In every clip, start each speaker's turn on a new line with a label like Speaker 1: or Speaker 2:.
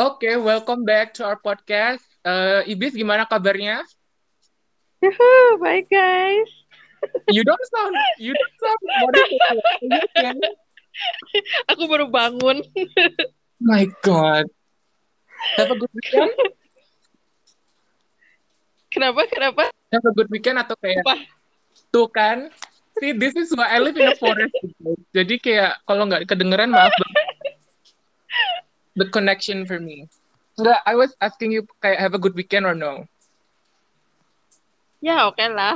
Speaker 1: Oke, welcome back to our podcast. Eh, Ibis, gimana kabarnya?
Speaker 2: Yuhu, bye guys.
Speaker 1: You don't sound, you don't sound. what is it? Ibis, can-
Speaker 2: Aku baru bangun.
Speaker 1: My God. Have a good weekend.
Speaker 2: Kenapa? Kenapa?
Speaker 1: Have a good weekend atau kayak
Speaker 2: Apa?
Speaker 1: tuh kan? See, this is why I live in a forest. gitu. Jadi kayak kalau nggak kedengeran maaf banget. The connection for me. Nggak, I was asking you kayak have a good weekend or no.
Speaker 2: Ya oke lah.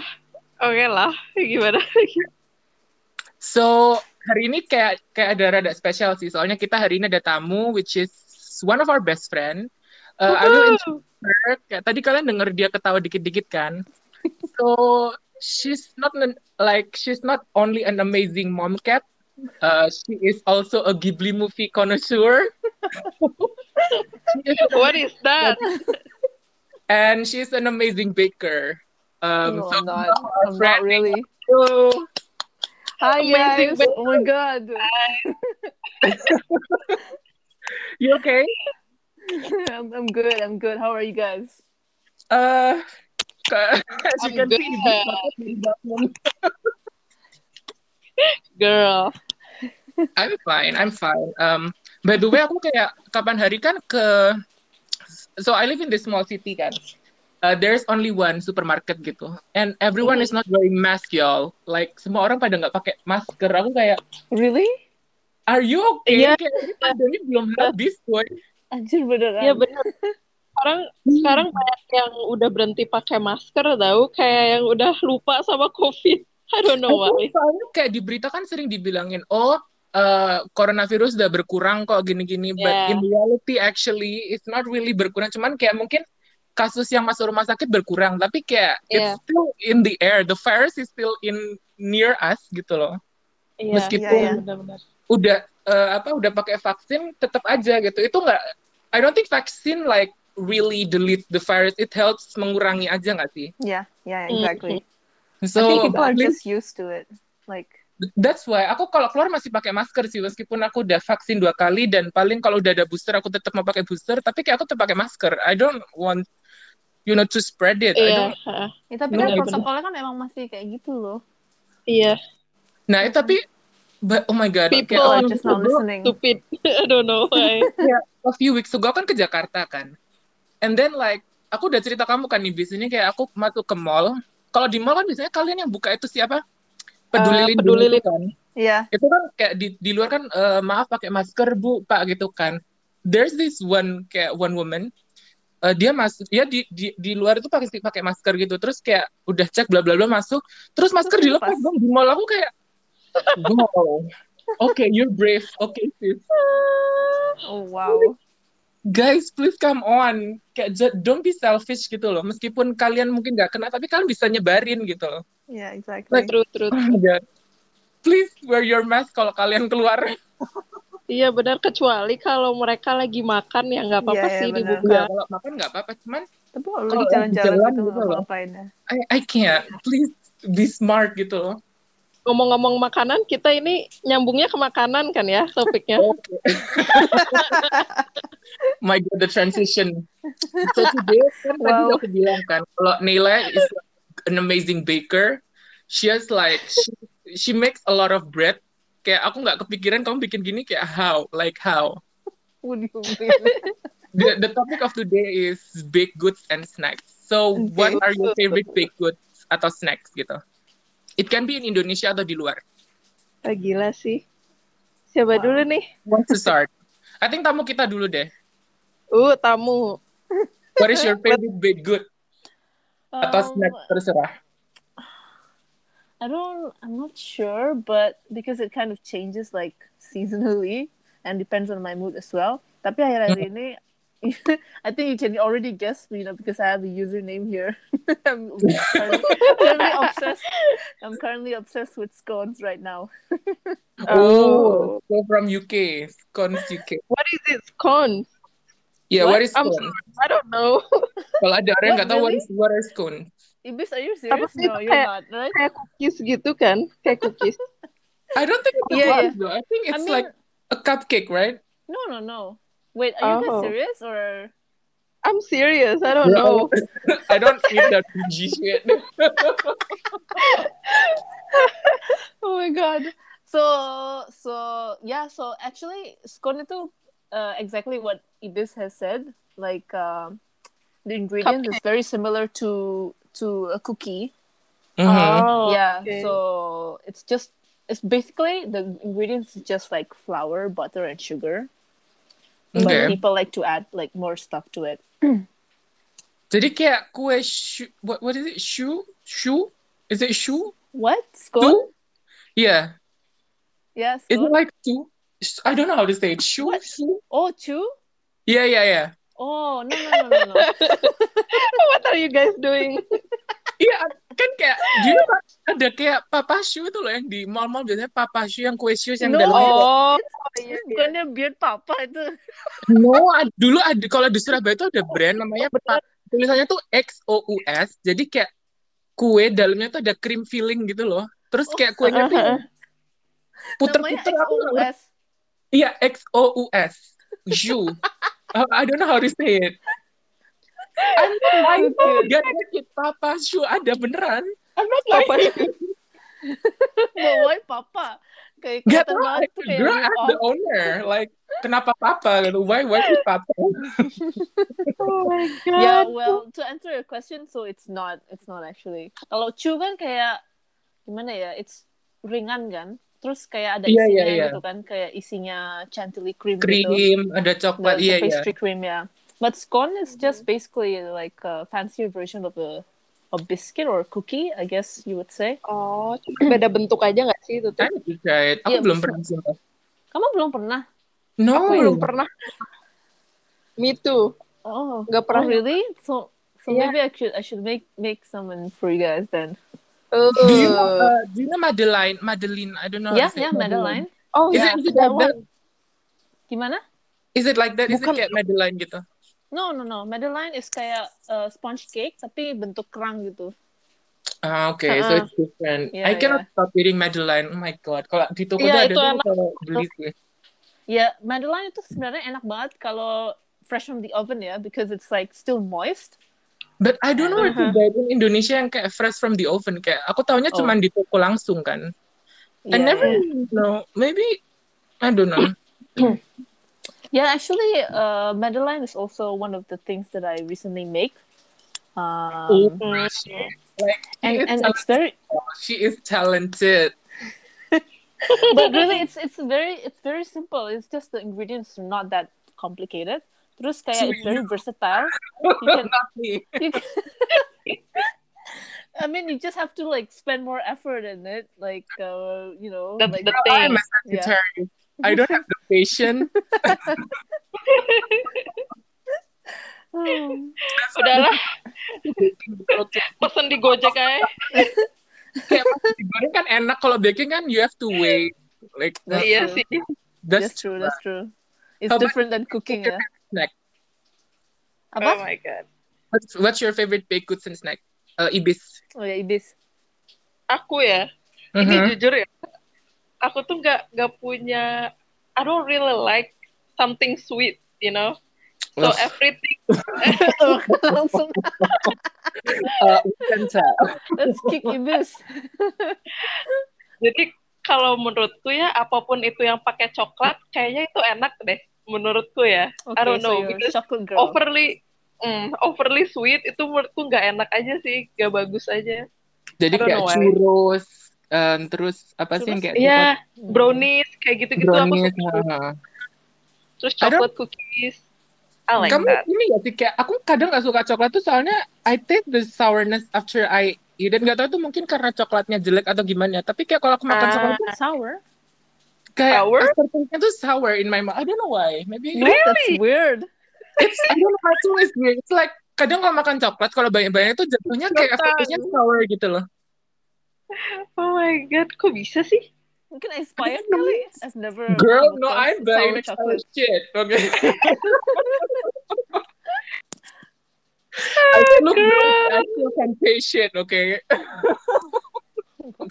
Speaker 2: Oke lah. Gimana?
Speaker 1: So hari ini kayak kayak ada rada spesial sih. Soalnya kita hari ini ada tamu which is one of our best friend.
Speaker 3: Eh,
Speaker 1: Uh, I will
Speaker 2: Wuhu.
Speaker 1: introvert. Kayak tadi kalian denger dia ketawa dikit-dikit kan. So she's not an- like she's not only an amazing mom cat. Uh, she is also a Ghibli movie connoisseur. She is an-
Speaker 2: What is that?
Speaker 1: and she's an amazing baker. Um,
Speaker 3: Oh, no,
Speaker 1: so
Speaker 3: I'm
Speaker 1: now our
Speaker 3: not. I'm not
Speaker 1: friend-
Speaker 3: really.
Speaker 1: Oh,
Speaker 3: Hi
Speaker 2: Amazing
Speaker 3: guys! Oh my god!
Speaker 1: you okay?
Speaker 3: I'm, I'm good. I'm good. How are you guys?
Speaker 1: Uh, as you can
Speaker 2: I'm good.
Speaker 1: see, this podcast is about-
Speaker 2: Girl.
Speaker 1: I'm fine, I'm fine. Um, by the way, aku kayak kapan hari kan ke, so I live in this small city kan. Uh, there's only one supermarket gitu, and everyone is not wearing mask y'all. Like semua orang pada nggak pakai masker. Aku kayak,
Speaker 3: Really?
Speaker 1: are you okay?
Speaker 2: Iya.
Speaker 1: Kayak ini pandemi belum habis, boy.
Speaker 3: Anjir beneran.
Speaker 2: Ya benar. Orang sekarang banyak yang udah berhenti pakai masker tahu kayak yang udah lupa sama covid. I don't know
Speaker 1: Aku
Speaker 2: why.
Speaker 1: soalnya kayak di berita kan sering dibilangin, oh uh, coronavirus udah berkurang kok gini-gini, but
Speaker 2: Yeah.
Speaker 1: in reality actually it's not really berkurang, cuman kayak mungkin kasus yang masuk rumah sakit berkurang, tapi kayak
Speaker 2: Yeah.
Speaker 1: it's still in the air, the virus is still in near us gitu loh.
Speaker 2: Iya.
Speaker 1: Meskipun
Speaker 3: iya, iya.
Speaker 2: benar-benar.
Speaker 1: udah uh, apa udah pakai vaksin tetap aja gitu, itu nggak, I don't think vaksin like really delete the virus, it helps mengurangi aja nggak sih?
Speaker 3: Yeah, yeah,
Speaker 2: Mm.
Speaker 3: exactly.
Speaker 1: So
Speaker 3: I think people are
Speaker 1: please
Speaker 3: just used to it. Like,
Speaker 1: That's why aku kalau keluar masih pakai masker sih meskipun aku udah vaksin dua kali dan paling kalau udah ada booster aku tetap mau pakai booster tapi kayak aku tetap pakai masker. I don't want you know to spread it. I
Speaker 2: Iya.
Speaker 1: don't-
Speaker 2: heeh.
Speaker 3: ya, tapi
Speaker 1: Bener,
Speaker 3: kan
Speaker 1: bener.
Speaker 3: protokolnya kan emang masih kayak gitu loh.
Speaker 2: Iya.
Speaker 1: Nah, itu tapi but, oh my god,
Speaker 2: People
Speaker 1: kayak
Speaker 3: Oh,
Speaker 2: Oh,
Speaker 3: I'm
Speaker 1: a
Speaker 3: just not
Speaker 1: few-
Speaker 3: listening.
Speaker 2: Stupid. I don't know why.
Speaker 1: a few weeks ago kan ke Jakarta kan. And then like aku udah cerita kamu kan nih biasanya kayak aku masuk ke mall. Kalau di mall kan biasanya kalian yang buka itu siapa? Peduli
Speaker 2: Eh,
Speaker 1: lindungi
Speaker 2: Peduli
Speaker 1: itu kan.
Speaker 3: Yeah.
Speaker 1: itu kan kayak di, di luar kan eh, maaf pakai masker bu pak gitu kan there's this one kayak one woman eh, dia masuk dia di, di di luar itu pakai pakai masker gitu terus kayak udah cek bla bla bla masuk terus masker
Speaker 3: Terus
Speaker 1: dilepas
Speaker 3: lepas.
Speaker 1: dong di mall aku kayak wow okay you're brave okay sis
Speaker 3: Oh wow.
Speaker 1: guys please come on kayak ju- don't be selfish gitu loh meskipun kalian mungkin nggak kena tapi kalian bisa nyebarin gitu loh
Speaker 3: Yeah,
Speaker 2: True,
Speaker 3: exactly.
Speaker 2: true, true.
Speaker 1: Oh my God. please wear your mask kalau kalian keluar
Speaker 2: Iya benar kecuali kalau mereka lagi makan ya nggak apa-apa
Speaker 3: Iya, iya,
Speaker 2: sih
Speaker 3: benar.
Speaker 2: dibuka.
Speaker 1: Iya, kalau makan nggak apa-apa cuman
Speaker 3: Tapi kalau
Speaker 1: Kalau
Speaker 3: lagi jalan-jalan
Speaker 1: jalan
Speaker 3: gitu
Speaker 1: gitu
Speaker 3: nggak
Speaker 1: loh.
Speaker 3: ngapain ya.
Speaker 1: I, I can't. Please be smart gitu loh.
Speaker 2: Ngomong-ngomong makanan, kita ini nyambungnya ke makanan kan ya topiknya.
Speaker 1: Okay. My God, the transition. So today kan tadi
Speaker 3: Wow.
Speaker 1: aku bilang kan kalau Nila is an amazing baker. She has like she, she makes a lot of bread. Kayak aku nggak kepikiran kamu bikin gini kayak how, like how.
Speaker 3: What do you mean?
Speaker 1: The, the topic of today is baked goods and snacks. So what
Speaker 3: Okay.
Speaker 1: are your favorite baked goods atau snacks gitu? It can be in Indonesia atau di luar.
Speaker 2: Ah, gila sih. Siapa
Speaker 3: Wow.
Speaker 2: dulu nih?
Speaker 1: Want to start? I think tamu kita dulu deh.
Speaker 2: Uh tamu.
Speaker 1: What is your favorite baked good atau
Speaker 3: Um,
Speaker 1: snack terserah?
Speaker 3: I don't. I'm not sure, but because it kind of changes like seasonally and depends on my mood as well. Tapi akhir-akhir ini,
Speaker 2: Mm-hmm.
Speaker 3: I think you can already guess, you know, because I have a username here. I'm currently, currently obsessed. I'm currently obsessed with scones right now.
Speaker 1: Oh, so from UK, scones UK.
Speaker 2: What is it? Scone?
Speaker 1: Yeah, what,
Speaker 2: What?
Speaker 1: is
Speaker 2: I'm
Speaker 1: scone?
Speaker 2: I don't know.
Speaker 1: Kalau ada orang yang nggak tahu what
Speaker 3: Really?
Speaker 1: is what is scone?
Speaker 3: Ibis, are you serious?
Speaker 2: sih
Speaker 3: No,
Speaker 2: itu
Speaker 3: you're
Speaker 2: kayak-
Speaker 3: not, right?
Speaker 2: Kayak cookies gitu kan? Kayak cookies.
Speaker 1: I don't think it's
Speaker 3: Yeah,
Speaker 1: yeah,
Speaker 3: yeah.
Speaker 1: though. I think
Speaker 3: I
Speaker 1: it's
Speaker 3: mean,
Speaker 1: like a cupcake, right?
Speaker 3: no, no, no. Wait, are you
Speaker 2: Oh.
Speaker 3: guys serious or?
Speaker 2: I'm serious. I don't know.
Speaker 1: I don't eat that bougie shit.
Speaker 3: Oh my god. So so yeah. So actually, scone itu uh, exactly what Ibis has said. Like um, the ingredients is very similar to to a cookie.
Speaker 1: Mhm.
Speaker 2: Oh,
Speaker 3: yeah.
Speaker 2: okay.
Speaker 3: So it's just it's basically the ingredients is just like flour, butter, and sugar.
Speaker 1: Okay.
Speaker 3: But people like to add like more stuff to it.
Speaker 1: Jadi kayak kue shu, what what is it? Shu? Shu? Is it shu?
Speaker 3: What scone?
Speaker 1: Shu? Yeah.
Speaker 3: Yes.
Speaker 1: Is it like shu? Sh- I don't know how to say it. Shu? Shu?
Speaker 3: Oh, chew.
Speaker 1: Yeah, yeah, yeah.
Speaker 3: Oh no no no no no.
Speaker 2: what are you guys doing?
Speaker 1: Iya, kan kayak do you know what? ada kayak papa shu itu loh yang di mall-mall biasanya papa shu yang kue shu yang
Speaker 3: No.
Speaker 1: dalamnya
Speaker 2: Oh,
Speaker 3: It's gonna beard papa itu.
Speaker 1: No, ad- dulu Kan ada kalau di Surabaya itu ada brand namanya pa- tulisannya tuh XOUS. Jadi kayak kue dalamnya tuh ada cream filling gitu loh. Terus kayak kuenya tuh puter-puter aku
Speaker 3: Oh. Namanya
Speaker 1: nggak ngerti.
Speaker 3: XOS.
Speaker 1: Iya, XOUS. You. Uh, I don't know how to say it. I'm I
Speaker 3: so cute.
Speaker 1: gak sakit papa shu ada beneran. I'm not like
Speaker 2: Papa
Speaker 3: But why papa? Kayak
Speaker 1: Gak
Speaker 3: kelihatan
Speaker 1: tau,
Speaker 3: banget tuh kayak
Speaker 1: girl,
Speaker 3: rip
Speaker 1: I'm
Speaker 3: off.
Speaker 1: the owner. Like, kenapa papa? Gitu. Why, why is papa?
Speaker 2: Oh my god.
Speaker 3: Yeah, well, to answer your question, so it's not, it's not actually. Kalau chew kan kayak gimana ya? It's ringan kan. Terus kayak ada
Speaker 1: Iya,
Speaker 3: isinya
Speaker 1: iya, iya.
Speaker 3: gitu kan, kayak isinya chantilly cream, gitu.
Speaker 1: Krim, ada
Speaker 3: The,
Speaker 1: coklat,
Speaker 3: the
Speaker 1: iya, iya.
Speaker 3: pastry cream, yeah. But scone is just basically like a fancier version of a a biscuit or a cookie, I guess you would say.
Speaker 2: Oh, cuma beda bentuk aja nggak sih itu tuh?
Speaker 1: Kan dijahit. Aku
Speaker 3: Iya,
Speaker 1: belum
Speaker 3: bisa.
Speaker 1: pernah sih.
Speaker 3: Kamu belum pernah?
Speaker 1: No,
Speaker 2: Aku belum pernah. Me too.
Speaker 3: Oh,
Speaker 2: Nggak pernah.
Speaker 3: oh, really? So, so
Speaker 2: Yeah.
Speaker 3: maybe I should I should make make someone for you guys then.
Speaker 2: Uh,
Speaker 1: Do you know, uh, do you know Madeline? Madeline, I don't know. how
Speaker 3: Yeah,
Speaker 1: to say
Speaker 3: yeah,
Speaker 1: it.
Speaker 3: Madeline.
Speaker 2: oh,
Speaker 1: Is
Speaker 2: yeah.
Speaker 1: it, is it like
Speaker 2: that one.
Speaker 1: that?
Speaker 3: Gimana?
Speaker 1: Is it like that? Is it
Speaker 2: Bukan.
Speaker 1: kayak Madeline gitu?
Speaker 3: No, no, no. Madeline is kayak uh, sponge cake tapi bentuk kerang gitu.
Speaker 1: Ah, oke. So
Speaker 2: Uh-uh.
Speaker 1: it's different.
Speaker 3: Yeah,
Speaker 1: I cannot stop eating Madeline. Oh my god. Kalau di toko
Speaker 2: Iya,
Speaker 1: tuh ada
Speaker 2: itu
Speaker 1: tuh
Speaker 2: enak.
Speaker 1: kalau beli sih.
Speaker 3: Ya, Madeline itu sebenarnya enak banget kalau fresh from the oven ya because it's like still moist.
Speaker 1: But I don't know if
Speaker 2: Uh-huh.
Speaker 1: ada in Indonesia yang kayak fresh from the oven. Kayak aku taunya
Speaker 3: Oh. Iya,
Speaker 1: cuma di toko langsung kan. I
Speaker 3: Yeah,
Speaker 1: never
Speaker 3: yeah.
Speaker 1: know. Maybe I don't know.
Speaker 3: Yeah, actually, uh, Madeline is also one of the things that I recently make.
Speaker 1: Oh.
Speaker 3: Um,
Speaker 2: Hmm.
Speaker 1: Like she
Speaker 3: and
Speaker 1: is,
Speaker 3: and
Speaker 1: tal-
Speaker 3: it's very
Speaker 1: she is talented.
Speaker 3: but really it's it's very it's very simple. It's just the ingredients are not that complicated. Terus kayak it's very versatile. You can
Speaker 1: Not me.
Speaker 3: You can... I mean, you just have to like spend more effort in it, like uh, you know,
Speaker 2: That's
Speaker 3: like
Speaker 2: the
Speaker 1: I'm
Speaker 2: thing.
Speaker 1: a secretary. I don't have the patience.
Speaker 3: Hmm.
Speaker 2: Udahlah, pesen di Gojek aja.
Speaker 1: kayak pas digoreng kan enak kalau baking kan you have to wait like
Speaker 3: That's
Speaker 2: Iya
Speaker 3: true.
Speaker 2: sih.
Speaker 1: that's,
Speaker 3: that's true. That's true. It's
Speaker 1: How about-
Speaker 3: different than cooking, yeah.
Speaker 1: snack
Speaker 2: Oh
Speaker 3: Apa?
Speaker 2: my god.
Speaker 1: what's, what's your favorite baked goods and snack uh, ibis
Speaker 3: Oh yeah, ibis.
Speaker 2: Aku ya. ini
Speaker 1: Mhm.
Speaker 2: jujur ya aku tuh nggak nggak punya I don't really like something sweet you know so
Speaker 1: Ugh.
Speaker 2: everything
Speaker 3: Langsung,
Speaker 1: Uh, we can tell.
Speaker 3: let's kick ibis.
Speaker 2: jadi kalau menurutku ya apapun itu yang pakai coklat kayaknya itu enak deh menurutku ya
Speaker 3: Okay,
Speaker 2: I don't know,
Speaker 3: so you're a
Speaker 2: because
Speaker 3: chocolate girl.
Speaker 2: overly mm, overly sweet itu menurutku nggak enak aja sih nggak bagus aja
Speaker 1: jadi
Speaker 2: I don't
Speaker 1: kayak
Speaker 2: know eh. why.
Speaker 1: churros um, terus apa sih yang
Speaker 3: Churros,
Speaker 1: kayak
Speaker 2: Iya,
Speaker 3: Hmm.
Speaker 2: brownies kayak
Speaker 1: coklat,
Speaker 2: gitu-gitu gitu, aku
Speaker 1: brownies,
Speaker 2: suka.
Speaker 1: nah.
Speaker 2: terus
Speaker 1: I don't-
Speaker 2: chocolate cookies I like
Speaker 1: kamu
Speaker 2: that
Speaker 1: ini gak sih kayak aku kadang gak suka coklat tuh soalnya I taste the sourness after I eat dan gak tau tuh mungkin karena coklatnya jelek atau gimana tapi kayak kalau aku makan
Speaker 2: Ah.
Speaker 1: coklat tuh
Speaker 3: Sour?
Speaker 1: kayak
Speaker 2: Sour?
Speaker 1: aftertaste-nya tuh sour in my mouth I don't know why maybe
Speaker 3: What? That's weird.
Speaker 1: it's I don't know how to it's weird. It's like kadang kalau makan coklat kalau banyak-banyak tuh jatuhnya kayak
Speaker 2: Coklat.
Speaker 1: efeknya sour gitu loh.
Speaker 2: oh my god kok bisa sih
Speaker 3: Mungkin expired
Speaker 1: know.
Speaker 3: kali. I've never.
Speaker 2: Hmm,
Speaker 1: Girl,
Speaker 3: come
Speaker 1: no,
Speaker 3: across
Speaker 1: I'm buying next
Speaker 3: sour
Speaker 1: time shit. Okay.
Speaker 2: Oh
Speaker 1: I look good. I feel temptation. Okay.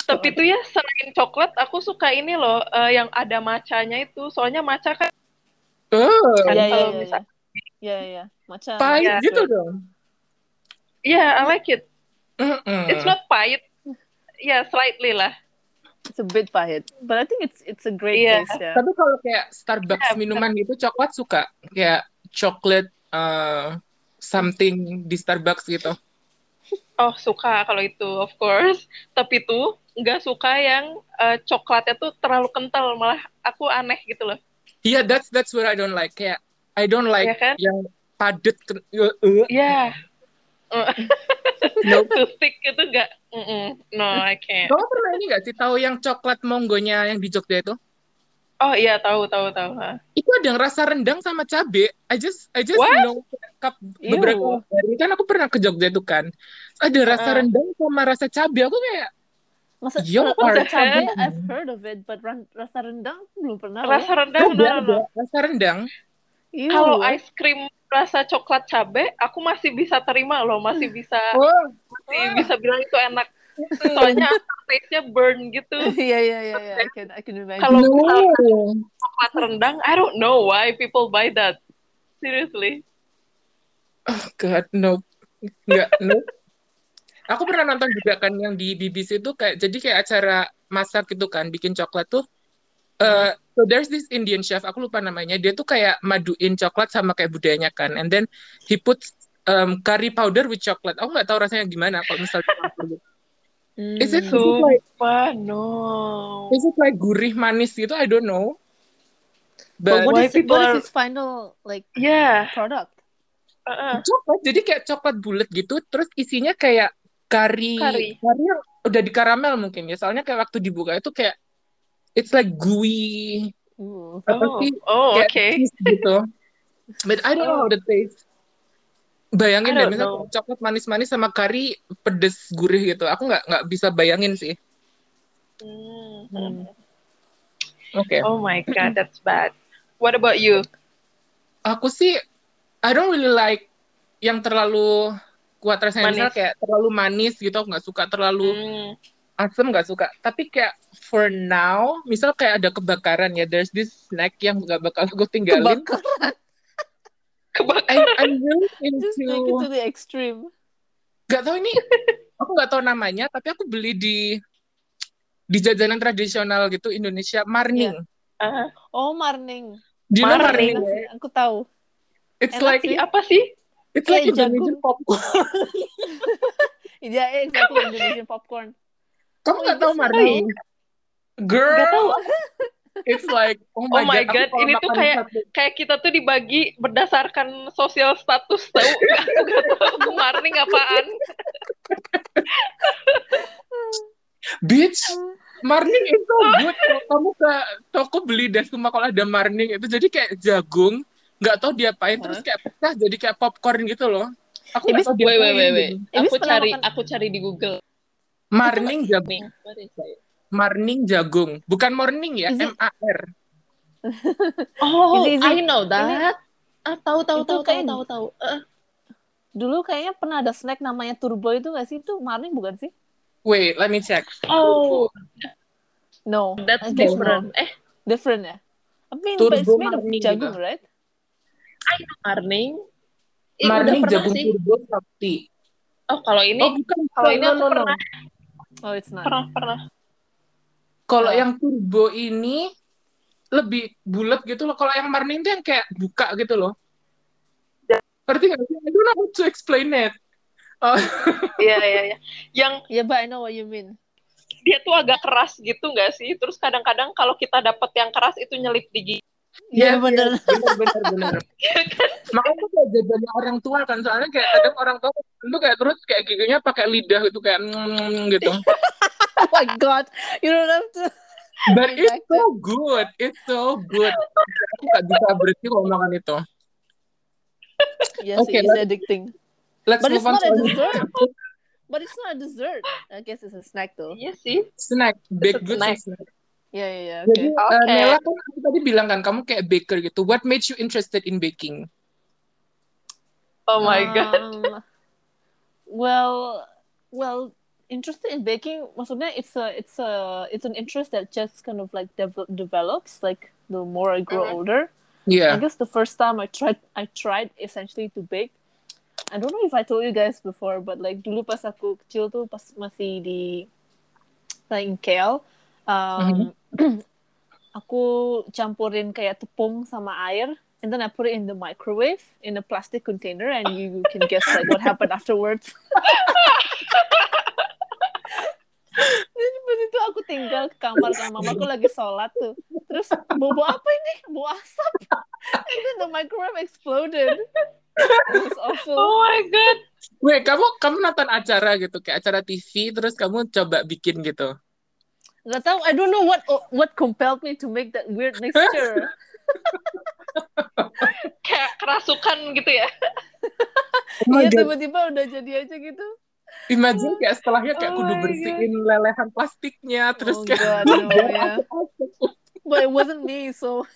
Speaker 2: Tapi itu ya selain coklat, aku suka ini loh eh, yang ada ya. macanya itu. Soalnya maca kan
Speaker 1: Oh,
Speaker 3: Yeah, yeah,
Speaker 2: Kalau
Speaker 3: yeah,
Speaker 2: misal- Iya,
Speaker 3: yeah, yeah, yeah. Macam
Speaker 1: pahit
Speaker 2: Yeah.
Speaker 1: gitu dong.
Speaker 2: Yeah, ya, I like it.
Speaker 1: Mm-mm.
Speaker 2: It's not pahit. Yeah, slightly lah.
Speaker 3: It's a bit pahit, but I think it's it's a great
Speaker 2: Yeah.
Speaker 3: taste. Yeah.
Speaker 1: Tapi kalau kayak Starbucks
Speaker 2: Yeah,
Speaker 1: minuman gitu coklat suka kayak coklat uh, something di Starbucks gitu.
Speaker 2: Oh, suka kalau itu, of course. Tapi tuh nggak suka yang eh, coklatnya tuh terlalu kental, malah aku aneh gitu loh.
Speaker 1: Iya, that's that's what I don't like. Kayak I don't
Speaker 2: Iya
Speaker 1: like
Speaker 2: kan?
Speaker 1: yang padet ke- uh, uh,
Speaker 2: Yeah.
Speaker 1: no.
Speaker 2: Ya. Eh. Too thick itu nggak. Mm-mm. No, I can't.
Speaker 1: Kamu pernah ini gak sih tahu yang coklat monggonya yang di Jogja itu?
Speaker 2: Oh iya, tahu, tahu, tahu. Hah.
Speaker 1: Itu ada rasa rendang sama cabe. I just I just
Speaker 2: What?
Speaker 1: know cup beberapa hari kan aku pernah ke Jogja itu kan. Ada rasa
Speaker 2: Uh.
Speaker 1: rendang sama rasa cabe. Aku kayak
Speaker 3: Masa,
Speaker 1: You
Speaker 3: rasa
Speaker 1: are
Speaker 3: cabai,
Speaker 1: kidding.
Speaker 3: I've heard of it, but ran- rasa rendang belum pernah.
Speaker 2: Rasa
Speaker 1: ada,
Speaker 2: rendang, no, no, no.
Speaker 1: ada "Oh, rasa rendang.
Speaker 3: Ew.
Speaker 2: Kalau
Speaker 1: Iya.
Speaker 2: ice cream rasa coklat cabe, aku masih bisa terima loh, masih bisa
Speaker 1: Oh,
Speaker 2: masih bisa bilang itu enak.
Speaker 1: Gitu.
Speaker 2: Soalnya taste-nya burn gitu.
Speaker 3: yeah, yeah, yeah, yeah. I can, I can imagine.
Speaker 2: Kalau misalkan
Speaker 1: no.
Speaker 2: coklat rendang, I don't know why people buy that. Seriously.
Speaker 1: Oh, God, no. Enggak, no. Aku pernah nonton juga kan yang di BBC itu kayak jadi kayak acara masak gitu kan, bikin coklat tuh. Eh, so there's this Indian chef, aku lupa namanya. Dia tuh kayak maduin coklat sama kayak budayanya kan. And then he puts um, curry powder with chocolate. Aku nggak tahu rasanya gimana kalau misalnya campur.
Speaker 3: Mm.
Speaker 1: Is it
Speaker 2: So,
Speaker 1: like
Speaker 2: no.
Speaker 1: is it like gurih manis gitu? I don't know.
Speaker 3: But
Speaker 1: But,
Speaker 3: what
Speaker 2: Why
Speaker 3: is, what
Speaker 2: people
Speaker 3: is his final like
Speaker 2: Yeah.
Speaker 3: product?
Speaker 2: Ya. uh-uh.
Speaker 1: coklat jadi kayak coklat bulat gitu terus isinya kayak kari
Speaker 2: Kari.
Speaker 1: yang udah di karamel mungkin ya soalnya kayak waktu dibuka itu kayak it's like gooey
Speaker 3: Ooh.
Speaker 1: apa
Speaker 2: Oh,
Speaker 1: sih
Speaker 2: oh
Speaker 1: kayak
Speaker 2: okay. Oh.
Speaker 1: cheese gitu but I don't know how the taste bayangin
Speaker 2: I
Speaker 1: deh
Speaker 2: don't
Speaker 1: misalnya
Speaker 2: know.
Speaker 1: coklat manis-manis sama kari pedes gurih gitu aku nggak nggak bisa bayangin sih Hmm.
Speaker 2: Mm.
Speaker 1: oke
Speaker 2: Oh my god, that's bad. What about you?
Speaker 1: aku sih I don't really like yang terlalu kuat rasanya
Speaker 2: Manis.
Speaker 1: misalnya kayak terlalu manis gitu aku nggak suka terlalu
Speaker 2: Mm.
Speaker 1: asem nggak suka tapi kayak for now misal kayak ada kebakaran ya there's this snack yang nggak bakal aku tinggalin
Speaker 3: Kebakar.
Speaker 2: Kebak-
Speaker 1: I, I'm really
Speaker 3: Just take it to
Speaker 1: into
Speaker 3: the extreme.
Speaker 1: nggak tahu ini aku nggak tahu namanya tapi aku beli di di jajanan tradisional gitu Indonesia
Speaker 3: Iya.
Speaker 1: marning
Speaker 2: Ah,
Speaker 3: Oh, marning.
Speaker 1: Do you know marning
Speaker 2: Marning.
Speaker 3: Nasi- Aku tahu.
Speaker 1: it's
Speaker 3: Enak
Speaker 1: like
Speaker 3: sih.
Speaker 2: apa sih?
Speaker 1: it's like
Speaker 3: Kayak
Speaker 1: Indonesian
Speaker 3: jagung.
Speaker 1: popcorn
Speaker 3: Yeah, exactly. eh, Indonesian popcorn.
Speaker 1: kamu
Speaker 3: Oh,
Speaker 1: nggak
Speaker 3: itu
Speaker 1: tahu
Speaker 3: sih.
Speaker 1: marning
Speaker 2: Nggak tahu.
Speaker 1: girl it's like oh my,
Speaker 2: Oh my
Speaker 1: god,
Speaker 2: God, ini tuh kayak- Kayak kita tuh dibagi berdasarkan sosial status tahu nggak? Nggak tahu marning apaan.
Speaker 1: bitch Marning itu good. Kalau Kamu ke toko beli dan cuma kalau ada marning itu jadi kayak jagung, nggak tahu diapain terus kayak pecah jadi kayak popcorn gitu loh. Aku nggak
Speaker 3: Ibis-
Speaker 1: tahu
Speaker 2: Wait, wait, wait, wait.
Speaker 1: gitu.
Speaker 3: Ibis
Speaker 2: Aku
Speaker 3: pernah
Speaker 2: cari,
Speaker 3: makan-
Speaker 2: aku cari di Google.
Speaker 1: Marning jagung,
Speaker 2: Nih, what is it?
Speaker 1: marning jagung, bukan morning ya,
Speaker 3: Is it-
Speaker 1: M A R.
Speaker 2: Oh,
Speaker 3: Is it- is it-
Speaker 2: I know that. Ah, tahu tahu tahu
Speaker 3: Itu
Speaker 2: tahu
Speaker 3: kayak-
Speaker 2: tahu tahu. Eh,
Speaker 3: Dulu kayaknya pernah ada snack namanya turbo itu gak sih? Itu marning bukan sih?
Speaker 1: Wait, let me check.
Speaker 2: Oh,
Speaker 3: No.
Speaker 2: that's
Speaker 3: I think
Speaker 2: different. Eh,
Speaker 3: no. Different ya? I mean, but it's
Speaker 1: Turbo
Speaker 3: made of
Speaker 1: marning
Speaker 3: jagung,
Speaker 1: juga.
Speaker 3: right?
Speaker 2: marning. Ih, udah
Speaker 1: Marning
Speaker 2: pernah
Speaker 1: jagung
Speaker 2: sih.
Speaker 1: turbo sakti.
Speaker 2: Oh, kalau ini
Speaker 1: Oh bukan,
Speaker 2: kalau ini
Speaker 1: No,
Speaker 2: aku
Speaker 1: no, no.
Speaker 2: pernah
Speaker 3: Oh, it's not.
Speaker 2: pernah pernah.
Speaker 1: Kalau
Speaker 2: Oh.
Speaker 1: yang turbo ini lebih bulat gitu loh. Kalau yang marning itu yang kayak buka gitu loh. Ngerti nggak sih? I don't know how to explain it.
Speaker 2: Iya iya iya. Yang
Speaker 3: Yeah, but I know what you mean.
Speaker 2: dia tuh agak keras gitu nggak sih? Terus kadang-kadang kalau kita dapet yang keras itu nyelip di gigi.
Speaker 1: Yes,
Speaker 3: Iya, bener.
Speaker 1: yes, bener bener bener. Makanya tuh kayak jajannya orang tua kan soalnya kayak kadang orang tua itu kayak terus kayak giginya pakai lidah gitu kayak mm, gitu.
Speaker 3: Oh my god, you don't have to.
Speaker 1: But it's so good, it's so good. Aku gak bisa berhenti kalau makan itu.
Speaker 3: Yes,
Speaker 1: Okay,
Speaker 3: it is addicting.
Speaker 1: Let's
Speaker 3: But it's
Speaker 1: move on
Speaker 3: not
Speaker 1: to
Speaker 3: a
Speaker 1: the
Speaker 3: dessert. But it's not a dessert. I guess it's a snack though.
Speaker 2: Iya sih.
Speaker 1: snack, baked
Speaker 2: It's a
Speaker 1: goods
Speaker 2: snack.
Speaker 1: and snack.
Speaker 3: Yeah, yeah, yeah.
Speaker 1: Jadi
Speaker 3: Okay.
Speaker 1: uh,
Speaker 2: Okay.
Speaker 1: Nela kan aku tadi bilang kan kamu kayak baker gitu. What made you interested in baking?
Speaker 2: Oh my god.
Speaker 3: Um, well, well, interested in baking. Maksudnya, it's a, it's a, it's an interest that just kind of like devel- develops like the more I grow
Speaker 2: Mhm.
Speaker 3: older. I
Speaker 1: Yeah.
Speaker 3: guess the first time I tried, I tried essentially to bake. I don't know if I told you guys before, but like dulu pas aku kecil tuh pas masih di like in KL, um, aku campurin kayak tepung sama air, and then I put it in the microwave in a plastic container, and you, you can guess like what happened afterwards. Terus pas itu aku tinggal ke kamar sama mamaku lagi sholat tuh. Terus bobo apa ini? Bau asap. And then the microwave exploded. It was awful.
Speaker 2: Oh my god.
Speaker 1: Wait, kamu kamu nonton acara gitu kayak acara TV terus kamu coba bikin gitu.
Speaker 3: Gak tau, I don't know what what compelled me to make that weird mixture.
Speaker 2: Kayak kerasukan gitu ya.
Speaker 1: Oh my
Speaker 3: Iya
Speaker 1: God.
Speaker 3: tiba-tiba udah jadi aja gitu.
Speaker 1: Imagine kayak setelahnya kayak
Speaker 2: Oh
Speaker 1: kudu
Speaker 2: my
Speaker 1: bersihin lelehan plastiknya terus
Speaker 3: oh
Speaker 1: kayak
Speaker 3: god, ya. no, yeah. But it wasn't me, so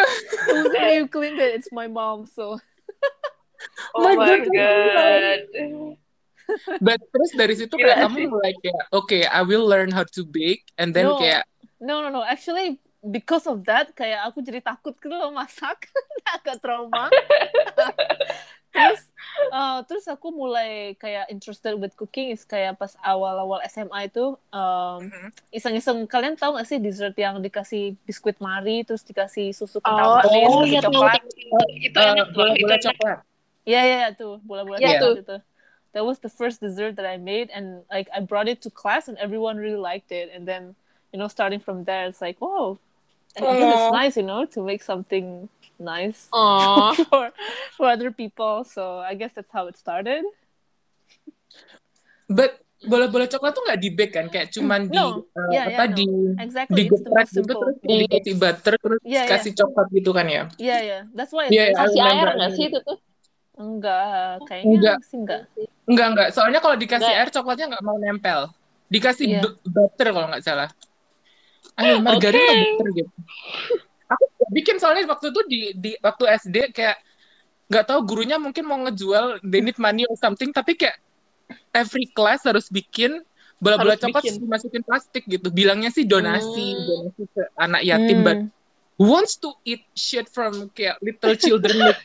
Speaker 3: it wasn't me who cleaned it. It's my mom, so
Speaker 2: Oh
Speaker 1: My
Speaker 2: my
Speaker 1: God.
Speaker 2: god.
Speaker 1: But terus dari situ
Speaker 2: Gila
Speaker 1: kayak kamu
Speaker 2: sih.
Speaker 1: mulai kayak oke I will learn how to bake and then
Speaker 3: No.
Speaker 1: kayak
Speaker 3: no, no, no. Actually, because of that, kayak aku jadi takut gitu loh masak, agak trauma. terus, uh, terus aku mulai kayak interested with cooking is kayak pas awal-awal SMA itu um,
Speaker 2: Mm-hmm.
Speaker 3: iseng-iseng kalian tahu gak sih dessert yang dikasih biskuit mari terus dikasih susu
Speaker 2: Oh,
Speaker 3: kental manis
Speaker 2: oh,
Speaker 3: kasih
Speaker 2: iya tahu.
Speaker 3: coklat
Speaker 2: Itu
Speaker 1: eh,
Speaker 2: enak loh. Itu
Speaker 1: bola-bola
Speaker 2: enak.
Speaker 1: coklat.
Speaker 3: Iya, iya, iya, tuh bola-bola
Speaker 2: Iya,
Speaker 3: coklat itu. That was the first dessert that I made, and like I brought it to class, and everyone really liked it. And then, you know, starting from there, it's like, whoa, I think
Speaker 2: Iya
Speaker 1: Aw.
Speaker 3: it's nice, you know, to make something nice
Speaker 2: Oh.
Speaker 3: for for other people. So I guess that's how it started.
Speaker 1: But bola-bola coklat tuh nggak di bake kan kayak cuman di
Speaker 3: No.
Speaker 1: eh,
Speaker 3: Yeah,
Speaker 1: apa
Speaker 3: yeah, no.
Speaker 1: di
Speaker 3: Exactly, it's the
Speaker 1: digepret
Speaker 3: most
Speaker 1: gitu
Speaker 3: simple.
Speaker 1: terus dikasih butter terus
Speaker 3: Yeah, yeah.
Speaker 1: kasih coklat gitu kan ya.
Speaker 3: Yeah, yeah, that's why.
Speaker 1: Yeah, yeah,
Speaker 3: It's
Speaker 1: I
Speaker 4: Kasih air
Speaker 1: remember.
Speaker 4: nggak sih itu tuh?
Speaker 3: Enggak, kayaknya
Speaker 1: Enggak.
Speaker 3: sih enggak.
Speaker 1: Enggak enggak. Soalnya kalau dikasih
Speaker 4: Nggak.
Speaker 1: air coklatnya nggak mau nempel. Dikasih
Speaker 3: Iya.
Speaker 1: bu- butter kalau nggak salah. Ayo margarin atau
Speaker 2: Oke.
Speaker 1: butter gitu. Aku juga bikin soalnya waktu itu di di waktu SD kayak nggak tahu gurunya mungkin mau ngejual they need money or something tapi kayak every class harus bikin bola-bola
Speaker 2: Harus
Speaker 1: coklat
Speaker 2: bikin.
Speaker 1: terus dimasukin plastik gitu. Bilangnya sih donasi,
Speaker 2: Hmm.
Speaker 1: donasi ke anak yatim but who wants to eat shit from kayak little children like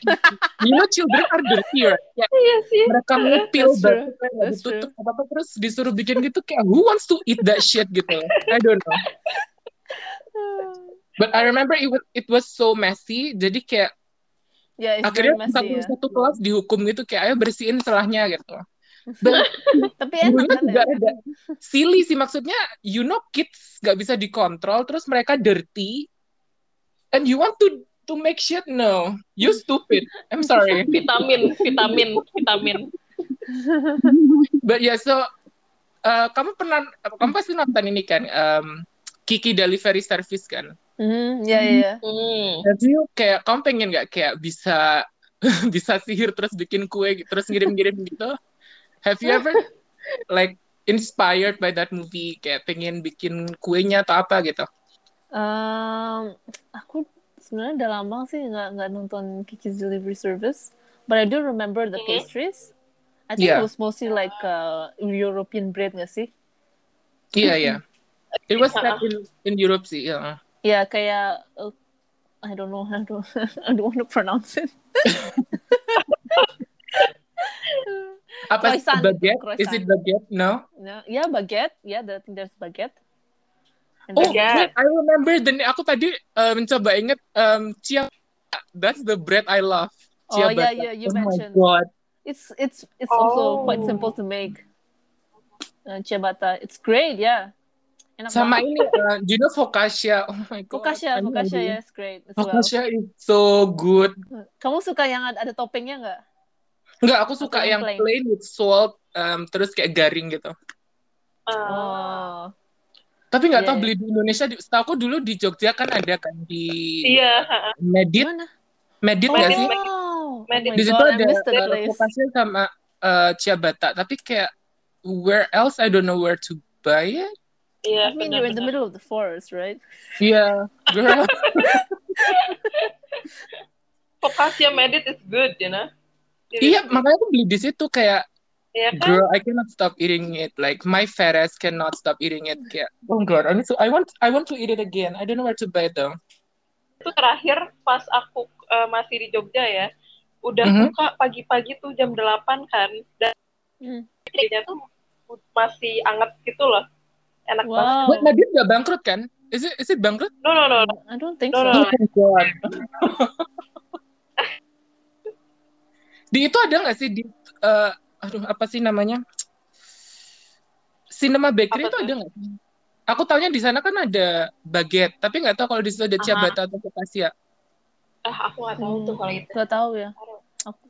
Speaker 1: you? you know children are dirty right Kayak
Speaker 2: Iya sih.
Speaker 1: mereka ngepil
Speaker 3: That's true.
Speaker 1: batuknya nggak
Speaker 3: That's
Speaker 1: ditutup apa apa terus disuruh bikin gitu kayak who wants to eat that shit gitu I don't know
Speaker 3: Mm.
Speaker 1: but I remember it was it was so messy jadi kayak
Speaker 3: Yeah, it's very
Speaker 1: akhirnya
Speaker 3: messy. ya.
Speaker 1: satu
Speaker 3: Yeah.
Speaker 1: satu kelas dihukum gitu kayak ayo bersihin celahnya gitu but
Speaker 3: Tapi enak
Speaker 1: gurunya
Speaker 3: kan
Speaker 1: juga
Speaker 3: ya? Mm-hmm,
Speaker 1: ada silly sih maksudnya you know kids nggak bisa dikontrol terus mereka dirty and you want to to make shit no you stupid I'm sorry
Speaker 2: Vitamin, vitamin, vitamin.
Speaker 1: But yeah, so uh, kamu pernah, kamu pasti nonton ini kan, um, Kiki Delivery Service kan? Mm-hmm.
Speaker 3: Mhm, yeah, yeah, yeah.
Speaker 2: Hmm.
Speaker 1: Jadi kayak kamu pengen nggak kayak bisa bisa sihir terus bikin kue gitu, terus ngirim-ngirim gitu? Have you ever like inspired by that movie kayak pengen bikin kuenya atau apa gitu?
Speaker 3: Um, aku sebenarnya udah lama sih nggak nggak nonton Kiki's Delivery Service, but I do remember the
Speaker 2: Mhm.
Speaker 3: pastries. I think
Speaker 1: Yeah.
Speaker 3: it was mostly like uh, European bread nggak sih?
Speaker 1: Iya iya. It was set in in Europe sih. ya.
Speaker 3: Ya kayak uh, I don't know, I don't, I don't want to pronounce it.
Speaker 1: Apa sih,
Speaker 3: Croissant,
Speaker 1: baguette?
Speaker 3: croissant.
Speaker 1: Is it baguette? No.
Speaker 3: No, yeah baguette, yeah, I think there's baguette. And
Speaker 1: Oh,
Speaker 3: then-
Speaker 2: Baguette.
Speaker 1: wait, I remember the name. Aku tadi uh, mencoba inget um, chia. That's the bread I love.
Speaker 3: Oh,
Speaker 1: Ciabatta.
Speaker 3: yeah, yeah, you
Speaker 1: oh
Speaker 3: mentioned.
Speaker 1: my god.
Speaker 3: it's it's it's
Speaker 2: Oh.
Speaker 3: also quite simple to make. Uh, ciabatta, it's great, yeah. Enak
Speaker 1: Sama
Speaker 3: banget.
Speaker 1: ini, uh, do you know focaccia? Oh my god.
Speaker 3: Focaccia,
Speaker 1: I'm
Speaker 3: focaccia,
Speaker 1: hungry.
Speaker 3: yeah, it's great as well.
Speaker 1: Focaccia is so good.
Speaker 3: Kamu suka yang ada, ada toppingnya nggak?
Speaker 1: Enggak, aku suka
Speaker 3: Atau
Speaker 1: yang
Speaker 3: yang
Speaker 1: plain.
Speaker 3: plain.
Speaker 1: with salt, um, terus kayak garing gitu.
Speaker 2: Ah.
Speaker 3: Oh,
Speaker 1: Tapi nggak
Speaker 3: Iya,
Speaker 1: tahu
Speaker 3: iya.
Speaker 1: beli di Indonesia. Di, setahu aku dulu di Jogja kan ada kan di
Speaker 2: Iya. ha-ha.
Speaker 1: Medit,
Speaker 3: mana?
Speaker 1: Medit
Speaker 3: Oh,
Speaker 1: nggak
Speaker 2: Medit,
Speaker 1: sih?
Speaker 2: Medit.
Speaker 3: oh my
Speaker 2: Medit.
Speaker 1: Di situ
Speaker 3: god, I
Speaker 1: ada
Speaker 3: missed that
Speaker 1: uh,
Speaker 3: place.
Speaker 1: focaccia sama uh, ciabatta. Tapi kayak where else I don't know where to buy it.
Speaker 2: Iya,
Speaker 3: I mean, you're in
Speaker 2: benar-benar.
Speaker 3: the middle of the forest, right?
Speaker 1: Yeah, Iya. girl.
Speaker 2: Focaccia medit is good, you know. Jadi-
Speaker 1: iya, makanya aku beli di situ kayak
Speaker 2: Iya kan?
Speaker 1: girl, I cannot stop eating it. Like my fat ass cannot stop eating it. Kayak, oh god, I need to, I want, I want to eat it again. I don't know where to buy it though.
Speaker 2: itu terakhir pas aku eh, masih di Jogja ya udah
Speaker 1: Mhm.
Speaker 2: buka pagi-pagi tuh jam 8 kan dan
Speaker 3: Hmm.
Speaker 2: istrinya tuh masih anget gitu loh enak banget
Speaker 3: Wow.
Speaker 1: Wait, Madrid nggak bangkrut kan? Is it, is it bangkrut? Oh
Speaker 2: no no no, no.
Speaker 3: I don't think
Speaker 2: No,
Speaker 3: so.
Speaker 2: no.
Speaker 1: my god. di itu ada nggak sih di eh, aduh apa sih namanya? Cinema Bakery
Speaker 2: Apa
Speaker 1: itu
Speaker 2: tuh?
Speaker 1: ada nggak? sih? Aku taunya di sana kan ada baguette, tapi nggak tahu kalau di situ ada
Speaker 2: Aha.
Speaker 1: ciabatta atau ya. focaccia.
Speaker 2: ah aku nggak tahu tuh kalau itu
Speaker 3: Gak tahu ya.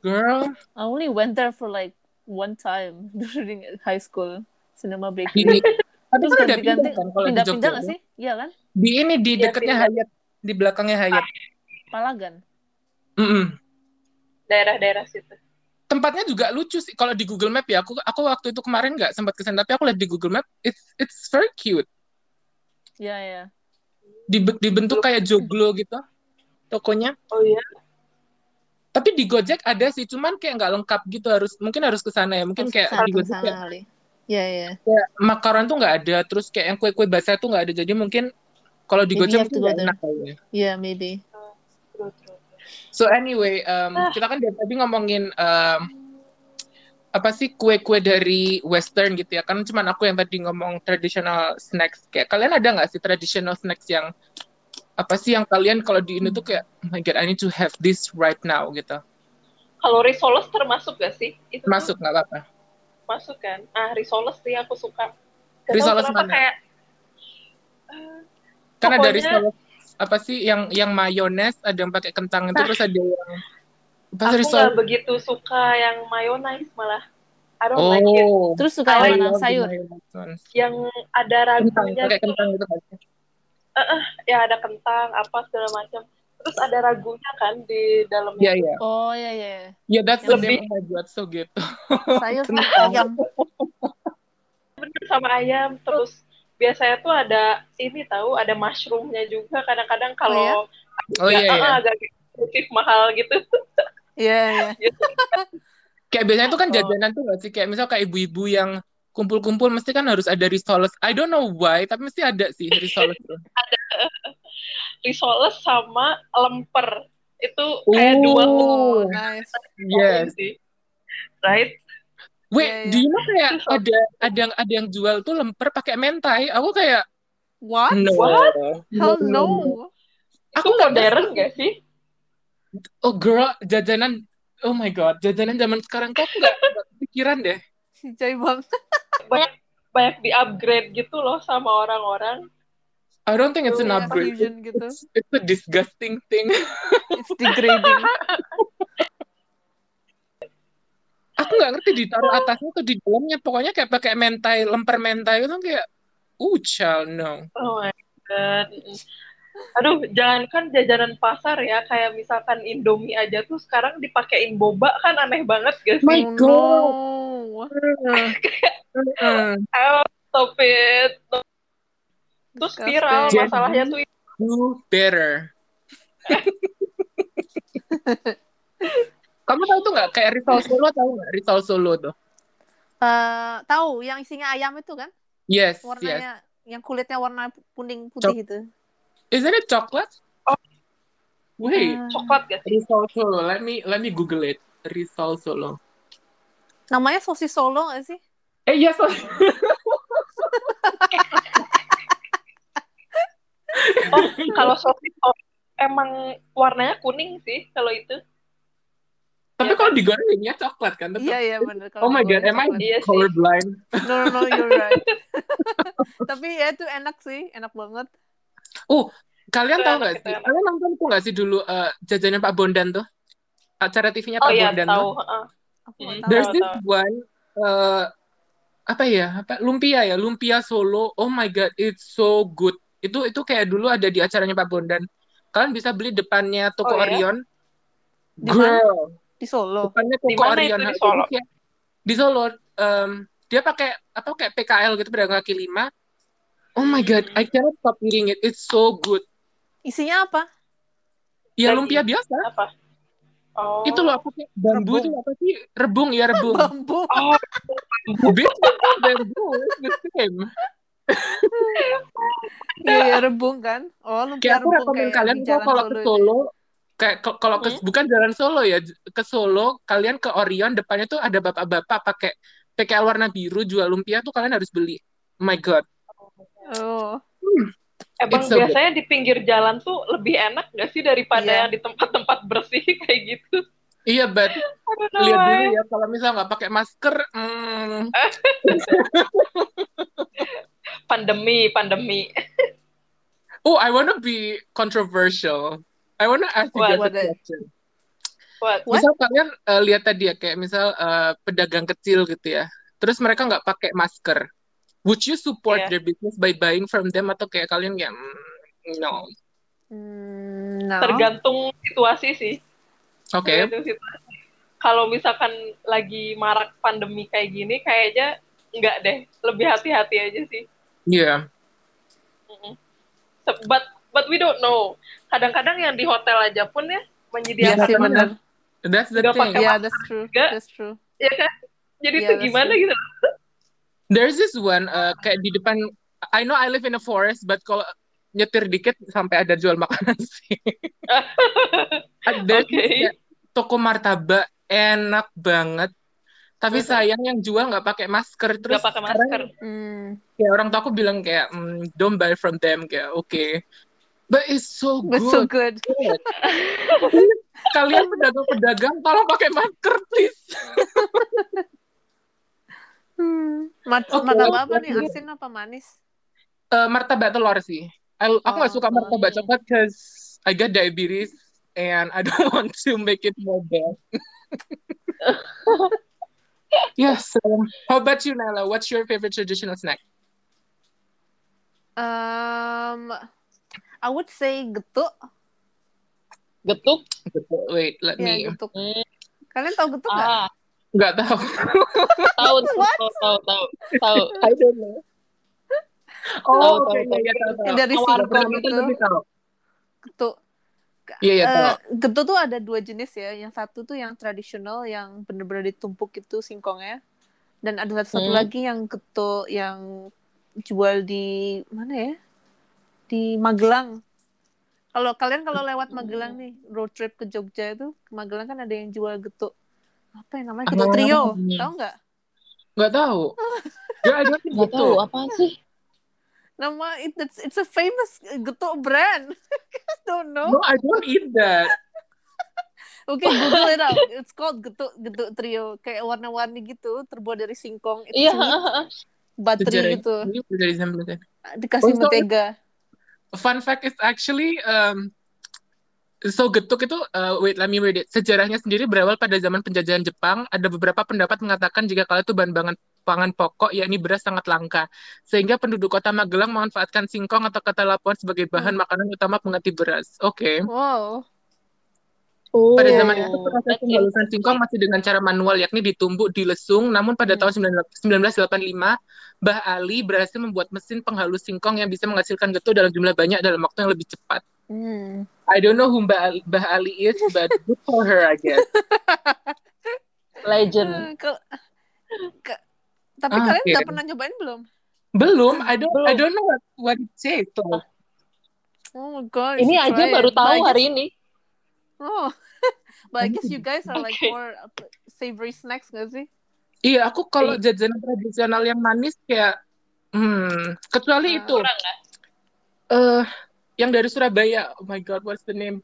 Speaker 1: Girl,
Speaker 3: I only went there for like one time during high school cinema
Speaker 1: di
Speaker 3: bakery.
Speaker 1: tapi
Speaker 3: Terus
Speaker 1: kan ada
Speaker 3: ganti-ganti,
Speaker 1: pindah kan kalau Iya, di Jogja.
Speaker 3: Pindah-pindah nggak sih? Iya kan?
Speaker 1: Di ini di
Speaker 2: Iya,
Speaker 1: dekatnya
Speaker 2: pindah.
Speaker 1: Hayat, di belakangnya Hayat.
Speaker 3: Palagan.
Speaker 1: Mm-mm.
Speaker 2: daerah-daerah situ
Speaker 1: tempatnya juga lucu sih kalau di Google Map ya aku aku waktu itu kemarin nggak sempat kesana tapi aku lihat di Google Map it's it's very cute
Speaker 3: Iya, iya.
Speaker 1: Dibe- dibentuk kayak joglo gitu tokonya
Speaker 2: oh iya
Speaker 1: tapi di Gojek ada sih cuman kayak nggak lengkap gitu harus mungkin harus kesana ya mungkin kayak di Gojek kayak
Speaker 3: sana kali. Iya, iya.
Speaker 1: makaron tuh nggak ada terus kayak yang kue-kue basah tuh nggak ada jadi mungkin kalau di
Speaker 3: Maybe you
Speaker 1: Gojek
Speaker 3: have to
Speaker 1: mungkin nggak
Speaker 3: go there.
Speaker 1: enak kali ya.
Speaker 3: Iya, maybe.
Speaker 2: true, true.
Speaker 1: So anyway, um,
Speaker 2: Ah.
Speaker 1: kita kan dari tadi ngomongin um, apa sih kue-kue dari Western gitu ya? Kan cuman aku yang tadi ngomong traditional snacks. Kayak kalian ada nggak sih traditional snacks yang apa sih yang kalian kalau di Indo tuh kayak oh my god I need to have this right now gitu.
Speaker 2: kalau risoles termasuk gak sih itu tuh
Speaker 1: Masuk nggak apa-apa.
Speaker 2: masuk kan ah risoles sih aku suka Gak tahu
Speaker 1: Risoles
Speaker 2: kenapa
Speaker 1: mana?
Speaker 2: kayak
Speaker 1: Karena
Speaker 2: Pokoknya-
Speaker 1: dari solo- Kan apa sih yang yang mayones ada yang pakai kentang itu
Speaker 2: Nah.
Speaker 1: terus ada yang apa sih
Speaker 2: aku
Speaker 1: risol-
Speaker 2: nggak begitu suka yang mayonnaise malah I don't like it
Speaker 1: Oh,
Speaker 3: Terus suka
Speaker 1: I
Speaker 2: I
Speaker 3: yang
Speaker 1: love the
Speaker 3: sayur.
Speaker 1: mayonnaise ones.
Speaker 2: yang ada
Speaker 1: Kentang,
Speaker 2: ragunya
Speaker 1: pakai
Speaker 2: gitu
Speaker 1: kentang gitu kan.
Speaker 2: ya ada kentang apa segala macam terus ada ragunya kan di
Speaker 1: Iya,
Speaker 2: dalamnya
Speaker 1: iya.
Speaker 3: Oh, iya, iya.
Speaker 1: Ya, that's the
Speaker 2: Lebih-
Speaker 1: name of my so gitu.
Speaker 3: Sayur sama ayam.
Speaker 2: bener sama ayam terus biasanya tuh ada ini tahu ada mushroomnya juga kadang-kadang kalau
Speaker 1: Oh iya, iya.
Speaker 2: agak- ah, agak eksklusif mahal gitu
Speaker 3: Iya, iya.
Speaker 1: Kayak biasanya tuh kan
Speaker 2: Oh.
Speaker 1: jajanan tuh gak sih? Kayak misal kayak ibu-ibu yang kumpul-kumpul mesti kan harus ada risoles. I don't know why, tapi mesti ada sih risoles tuh.
Speaker 2: risoles sama lemper itu kayak dua
Speaker 1: Oh.
Speaker 3: Oh, nice.
Speaker 2: komponen
Speaker 1: Yes.
Speaker 2: sih right
Speaker 1: Oh, iya. Wait,
Speaker 3: Iya, iya.
Speaker 1: do you know kayak
Speaker 2: Risoles.
Speaker 1: ada ada yang ada yang jual tuh lemper pakai mentai? Aku kayak
Speaker 3: What?
Speaker 1: no.
Speaker 2: What?
Speaker 3: Hell no.
Speaker 2: itu
Speaker 1: Aku nggak
Speaker 2: modern gak sih
Speaker 1: Oh girl, jajanan Oh my god, jajanan zaman sekarang kok nggak nggak kepikiran deh.
Speaker 3: Hijai banget.
Speaker 2: banyak banyak di upgrade gitu loh sama orang-orang
Speaker 1: I don't think it's an
Speaker 2: Iya,
Speaker 1: upgrade.
Speaker 3: fusion gitu.
Speaker 1: It's, it's a disgusting thing.
Speaker 3: It's degrading.
Speaker 1: Aku nggak ngerti
Speaker 3: Oh.
Speaker 1: ditaruh atasnya tuh di dalamnya. Pokoknya kayak pakai mentai, lemper mentai itu kayak, oh child, no.
Speaker 2: Oh my god. Aduh, jangankan jajanan pasar ya, kayak misalkan Indomie aja tuh sekarang dipakein boba kan aneh banget gak
Speaker 1: My
Speaker 2: sih?
Speaker 3: Oh,
Speaker 1: God.
Speaker 3: no. Uh.
Speaker 1: Heeh.
Speaker 2: Oh, stop it. Terus
Speaker 3: Disgusting.
Speaker 2: viral,
Speaker 1: Jadi-
Speaker 2: masalahnya tuh
Speaker 1: Do better. Kamu tahu tuh nggak kayak Rizal Solo tahu nggak Rizal Solo tuh?
Speaker 3: Eh, tahu yang isinya ayam itu kan?
Speaker 1: Yes, yes.
Speaker 3: Warnanya yang kulitnya warna kuning putih gitu. itu.
Speaker 1: Isn't it chocolate?
Speaker 2: Oh.
Speaker 1: Wait,
Speaker 3: Ah.
Speaker 2: coklat ya. gak sih?
Speaker 1: Rizal Solo. Let me let me Google it. Rizal Solo.
Speaker 3: Namanya sosis solo gak sih?
Speaker 1: Eh yes, sorry.
Speaker 2: Oh, kalau sosis oh, emang warnanya kuning sih kalau itu.
Speaker 1: tapi kalau digorengnya coklat kan tetap.
Speaker 3: Iya iya benar.
Speaker 1: Oh my god, am I
Speaker 2: Iya sih.
Speaker 1: colorblind?
Speaker 3: No no no, you're right. Tapi ya itu enak sih, enak banget.
Speaker 1: Kalian
Speaker 2: Itu
Speaker 1: tahu
Speaker 2: enak,
Speaker 1: nggak
Speaker 2: itu
Speaker 1: sih?
Speaker 2: enak.
Speaker 1: Kalian nonton tuh nggak sih dulu eh, jajanan Pak Bondan tuh? Acara TV-nya Pak
Speaker 2: Oh iya,
Speaker 1: Bondan tuh.
Speaker 2: tahu. heeh.
Speaker 3: Aku nggak
Speaker 2: Hmm.
Speaker 3: tahu.
Speaker 1: There's
Speaker 2: Tahu,
Speaker 1: this
Speaker 2: tahu.
Speaker 1: one uh, apa ya? Apa lumpia ya? Lumpia Solo. Oh my god, it's so good. Itu itu kayak dulu ada di acaranya Pak Bondan. Kalian bisa beli depannya toko
Speaker 2: Oh, iya?
Speaker 1: Orion.
Speaker 3: Di
Speaker 1: Girl,
Speaker 3: Di Solo.
Speaker 1: depannya
Speaker 2: Gitu. Di
Speaker 1: toko
Speaker 2: mana
Speaker 1: Orion.
Speaker 2: itu? Di
Speaker 1: Nah,
Speaker 2: Solo?
Speaker 1: kayak- di Solo. um, dia pakai apa kayak PKL gitu pedagang kaki lima. Oh my god, I cannot stop eating it. It's so good.
Speaker 3: Isinya apa?
Speaker 1: Ya
Speaker 2: Lagi.
Speaker 1: lumpia biasa.
Speaker 2: Apa? Oh.
Speaker 1: Itu loh apa sih? Bambu
Speaker 3: Rebung.
Speaker 1: itu apa sih? Rebung ya rebung.
Speaker 3: Bambu.
Speaker 2: Oh,
Speaker 1: Bitch, bambu. It's the same.
Speaker 3: Iya, iya, rebung kan? Oh, lumpia
Speaker 1: kayak aku
Speaker 3: rebung
Speaker 1: rekomen
Speaker 3: kayak
Speaker 1: kalian
Speaker 3: di
Speaker 1: kok
Speaker 3: Jalan
Speaker 1: kalau
Speaker 3: Solo
Speaker 1: ke
Speaker 3: itu. ya.
Speaker 1: Solo kayak ke- kalau ke
Speaker 2: Hmm?
Speaker 1: bukan jalan Solo ya ke Solo kalian ke Orion depannya tuh ada bapak-bapak pakai PKL warna biru jual lumpia tuh kalian harus beli Oh my god
Speaker 3: Oh,
Speaker 2: Emang
Speaker 1: It's so good.
Speaker 2: biasanya di pinggir jalan tuh lebih enak gak sih daripada
Speaker 3: Iya.
Speaker 2: yang di tempat-tempat bersih kayak gitu?
Speaker 1: iya but
Speaker 2: I don't know
Speaker 1: lihat dulu
Speaker 2: why.
Speaker 1: ya kalau misal nggak pakai masker hmm,
Speaker 2: ya. Pandemi, pandemi.
Speaker 1: oh I wanna be controversial I wanna ask you guys
Speaker 2: What?
Speaker 1: a
Speaker 3: What the-
Speaker 1: question
Speaker 2: What?
Speaker 3: What?
Speaker 1: Misal kalian eh, lihat tadi ya kayak misal eh, pedagang kecil gitu ya, terus mereka nggak pakai masker, would you support
Speaker 2: Yeah.
Speaker 1: their business by buying from them atau kayak kalian kayak "Mm, no,
Speaker 3: mm, no.
Speaker 2: Tergantung situasi sih.
Speaker 1: oke,
Speaker 2: Tergantung situasi. Kalau misalkan lagi marak pandemi kayak gini, kayaknya nggak deh. Lebih hati-hati aja sih.
Speaker 1: yeah,
Speaker 2: Mm-mm. Se- But but we don't know. Kadang-kadang yang di hotel aja pun ya
Speaker 3: Iya
Speaker 2: menyediakan
Speaker 3: sih benar.
Speaker 1: that's the
Speaker 2: Nggak
Speaker 1: thing.
Speaker 2: pakai-
Speaker 3: Iya, that's true.
Speaker 2: juga.
Speaker 3: That's true.
Speaker 2: ya kan? Jadi
Speaker 3: Iya,
Speaker 2: itu
Speaker 3: that's
Speaker 2: gimana
Speaker 3: true.
Speaker 2: gitu?
Speaker 1: There's this one eh, kayak di depan, I know I live in a forest, but kalau nyetir dikit sampai ada jual makanan sih. There's
Speaker 2: Oke.
Speaker 1: this kayak toko martabak enak banget, tapi
Speaker 2: Mhm.
Speaker 1: sayang yang jual nggak pakai masker terus.
Speaker 2: Nggak pakai
Speaker 1: sekarang
Speaker 2: masker.
Speaker 3: Hmm.
Speaker 1: kayak orang tua aku bilang kayak "Mm, don't buy from them kayak oke but it's so
Speaker 3: But
Speaker 1: good
Speaker 3: so good.
Speaker 1: kalian pedagang-pedagang tolong pakai masker please
Speaker 3: Hmm. Mat
Speaker 1: Oke,
Speaker 3: martabak
Speaker 1: let's
Speaker 3: apa nih?
Speaker 1: do it.
Speaker 3: Asin apa manis?
Speaker 1: Eh, martabak telur sih I- aku nggak
Speaker 3: Oh,
Speaker 1: suka martabak
Speaker 2: hmm.
Speaker 1: coklat because I got diabetes and I don't want to make it more bad yeah so um, how about you Nala what's your favorite traditional snack
Speaker 3: Um, I would say getuk.
Speaker 2: Getuk.
Speaker 1: wait let
Speaker 3: Ya,
Speaker 1: me
Speaker 3: getuk.
Speaker 2: Hmm,
Speaker 3: Kalian tahu getuk nggak?
Speaker 2: ah,
Speaker 1: nggak tahu
Speaker 2: tahu tahu
Speaker 3: What?
Speaker 2: tahu tahu tahu.
Speaker 1: I don't know
Speaker 2: Tahu,
Speaker 1: oh oke
Speaker 2: tahu,
Speaker 1: iya iya, tahu tahu
Speaker 3: Yang dari
Speaker 2: Awal
Speaker 1: Nggak pernah
Speaker 3: singkong
Speaker 1: makan
Speaker 3: itu.
Speaker 1: tapi tahu
Speaker 3: Getuk.
Speaker 1: iya
Speaker 2: ya,
Speaker 1: iya tahu
Speaker 3: Eh, getuk tuh ada dua jenis ya. Yang satu tuh yang tradisional, yang bener-bener ditumpuk itu singkongnya. Dan ada satu
Speaker 2: Hmm.
Speaker 3: lagi yang getuk yang jual di mana ya? Di Magelang. Kalau kalian kalau lewat Magelang nih, road trip ke Jogja itu, ke Magelang kan ada yang jual getuk. Apa yang namanya? Getuk
Speaker 1: Ah.
Speaker 3: trio. Tahu nggak?
Speaker 1: Nggak tahu. Gue ada gitu.
Speaker 2: Nggak tahu apa sih?
Speaker 3: Nama it- it's, it's a famous uh, getuk brand. You guys don't know.
Speaker 1: No, I don't eat that.
Speaker 3: Oke, Google it up. It's called getuk getuk trio. Kayak warna-warni gitu, terbuat dari singkong. It's
Speaker 2: Iya,
Speaker 3: sweet, buttery gitu.
Speaker 1: Ini udah disempetin.
Speaker 3: Dikasih
Speaker 1: Untuk-
Speaker 3: mentega.
Speaker 1: Fun fact is actually um, so getuk itu uh, wait let me read it. Sejarahnya sendiri berawal pada zaman penjajahan Jepang. Ada beberapa pendapat mengatakan jika kala itu bahan bangan pangan pokok yakni beras sangat langka sehingga penduduk kota Magelang memanfaatkan singkong atau ketela pohon sebagai bahan makanan utama pengganti beras. Oke.
Speaker 3: Wow.
Speaker 2: oh.
Speaker 1: Pada zaman itu proses
Speaker 2: That's
Speaker 1: penghalusan singkong masih dengan cara manual yakni ditumbuk, dilesung. Namun pada
Speaker 3: Hmm.
Speaker 1: tahun 1985, Bah Ali berhasil membuat mesin penghalus singkong yang bisa menghasilkan getuk dalam jumlah banyak dalam waktu yang lebih cepat.
Speaker 3: Hmm.
Speaker 1: I don't know who Mbak Ali- Bah Ali is, but good for her, I guess.
Speaker 2: legend.
Speaker 3: Ah, kal- ka- tapi
Speaker 1: Ah,
Speaker 3: kalian
Speaker 1: iya.
Speaker 3: udah pernah nyobain belum?
Speaker 1: Belum, I don't, I
Speaker 2: Belum.
Speaker 1: don't know what, what it takes. though.
Speaker 3: Oh my god. you
Speaker 2: Ini
Speaker 3: should
Speaker 2: aja
Speaker 3: try
Speaker 2: baru
Speaker 3: it. But I
Speaker 2: tahu
Speaker 3: guess-
Speaker 2: hari Hmm. ini.
Speaker 3: Oh. But I guess you guys are like
Speaker 2: Okay.
Speaker 3: more uh, savory snacks gak sih?
Speaker 1: Iya, aku kalau jajanan tradisional yang manis kayak, hmm, kecuali
Speaker 3: Ah.
Speaker 1: itu,
Speaker 2: Kurang ya? nggak?
Speaker 1: eh yang dari Surabaya. Oh my God, what's the name?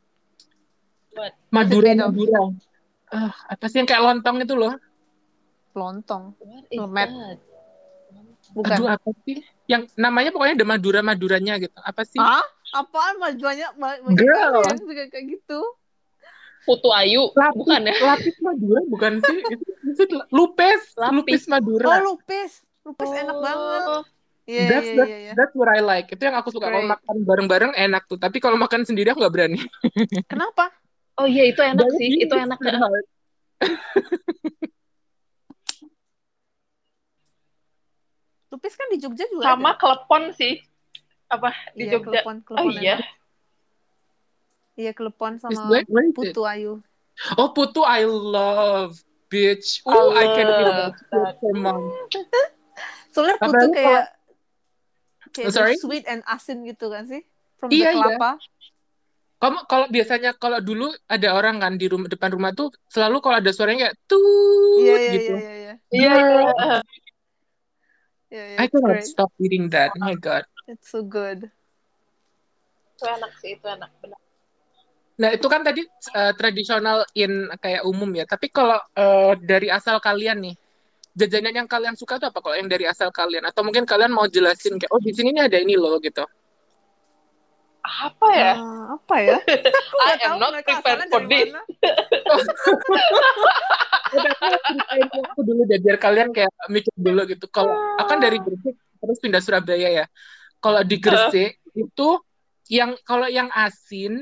Speaker 2: What?
Speaker 1: Madura,
Speaker 3: What's it made of?
Speaker 1: Madura. Ah, apa sih yang kayak lontong itu loh?
Speaker 3: Lontong.
Speaker 2: What is
Speaker 3: Lemet.
Speaker 2: that?
Speaker 3: Bukan.
Speaker 1: Aduh, apa sih? Yang namanya pokoknya ada Madura-Maduranya gitu. Apa sih?
Speaker 3: Ah? Apaan mas banyak banyak banyak
Speaker 1: Girl.
Speaker 3: kali yang suka kayak gitu.
Speaker 2: Putu Ayu,
Speaker 1: Lapis,
Speaker 2: bukan ya?
Speaker 1: lapis Madura bukan sih? Itu, itu lupes,
Speaker 2: Lapis.
Speaker 1: lupis
Speaker 3: Oh
Speaker 1: Madura.
Speaker 3: lupis. Lupis enak banget.
Speaker 2: Oh.
Speaker 3: Iya iya
Speaker 1: that's,
Speaker 3: iya
Speaker 1: that's,
Speaker 2: Ya.
Speaker 3: iya.
Speaker 1: that's what I like. Itu yang aku suka. Kalau
Speaker 3: Great.
Speaker 1: makan bareng-bareng enak tuh. Tapi kalau makan sendiri aku nggak berani.
Speaker 3: Kenapa?
Speaker 2: Oh iya itu enak sih, itu enak.
Speaker 3: Lupis kan di Jogja juga
Speaker 2: Sama
Speaker 3: ada.
Speaker 2: klepon sih. Apa di
Speaker 3: Iya,
Speaker 2: Jogja?
Speaker 3: Klepon, klepon
Speaker 2: Oh
Speaker 3: enak.
Speaker 2: iya. gitu.
Speaker 3: Iya klepon sama
Speaker 1: Where, where is it?
Speaker 3: Putu Ayu.
Speaker 1: Oh, Putu, I love, bitch. Oh, I, can eat
Speaker 2: love
Speaker 1: that shit for months.
Speaker 3: Soalnya Putu
Speaker 1: Apalagi
Speaker 3: kayak Kayak
Speaker 1: Sorry?
Speaker 3: sweet and asin gitu kan sih? From
Speaker 1: Iya, iya.
Speaker 3: the kelapa.
Speaker 1: Kamu kalau biasanya kalau dulu ada orang kan di rumah depan rumah tuh selalu kalau ada suaranya kayak tuh
Speaker 3: Iya, iya,
Speaker 1: gitu.
Speaker 3: iya, iya, iya.
Speaker 2: Iya, iya.
Speaker 3: Iya, iya,
Speaker 1: I
Speaker 3: it's
Speaker 1: cannot
Speaker 3: great.
Speaker 1: stop eating that. Oh my god.
Speaker 3: It's so good.
Speaker 2: itu enak sih itu enak benar
Speaker 1: Nah, itu kan tadi uh, tradisional in kayak umum ya. Tapi kalau uh, dari asal kalian nih, jajanan yang kalian suka tuh apa kalau yang dari asal kalian atau mungkin kalian mau jelasin kayak oh di sini ini ada ini loh gitu.
Speaker 2: apa ya
Speaker 3: Ah, apa ya? Aku
Speaker 2: I am
Speaker 3: nggak tahu
Speaker 2: not
Speaker 3: mereka
Speaker 2: prepared
Speaker 3: asalnya
Speaker 2: for
Speaker 3: dari
Speaker 2: this.
Speaker 3: mana.
Speaker 1: Udah, aku ceritain aku dulu dari biar kalian kayak mikir dulu gitu. Kalau akan dari Gresik terus pindah Surabaya ya. Kalau di Gresik itu yang kalau yang asin,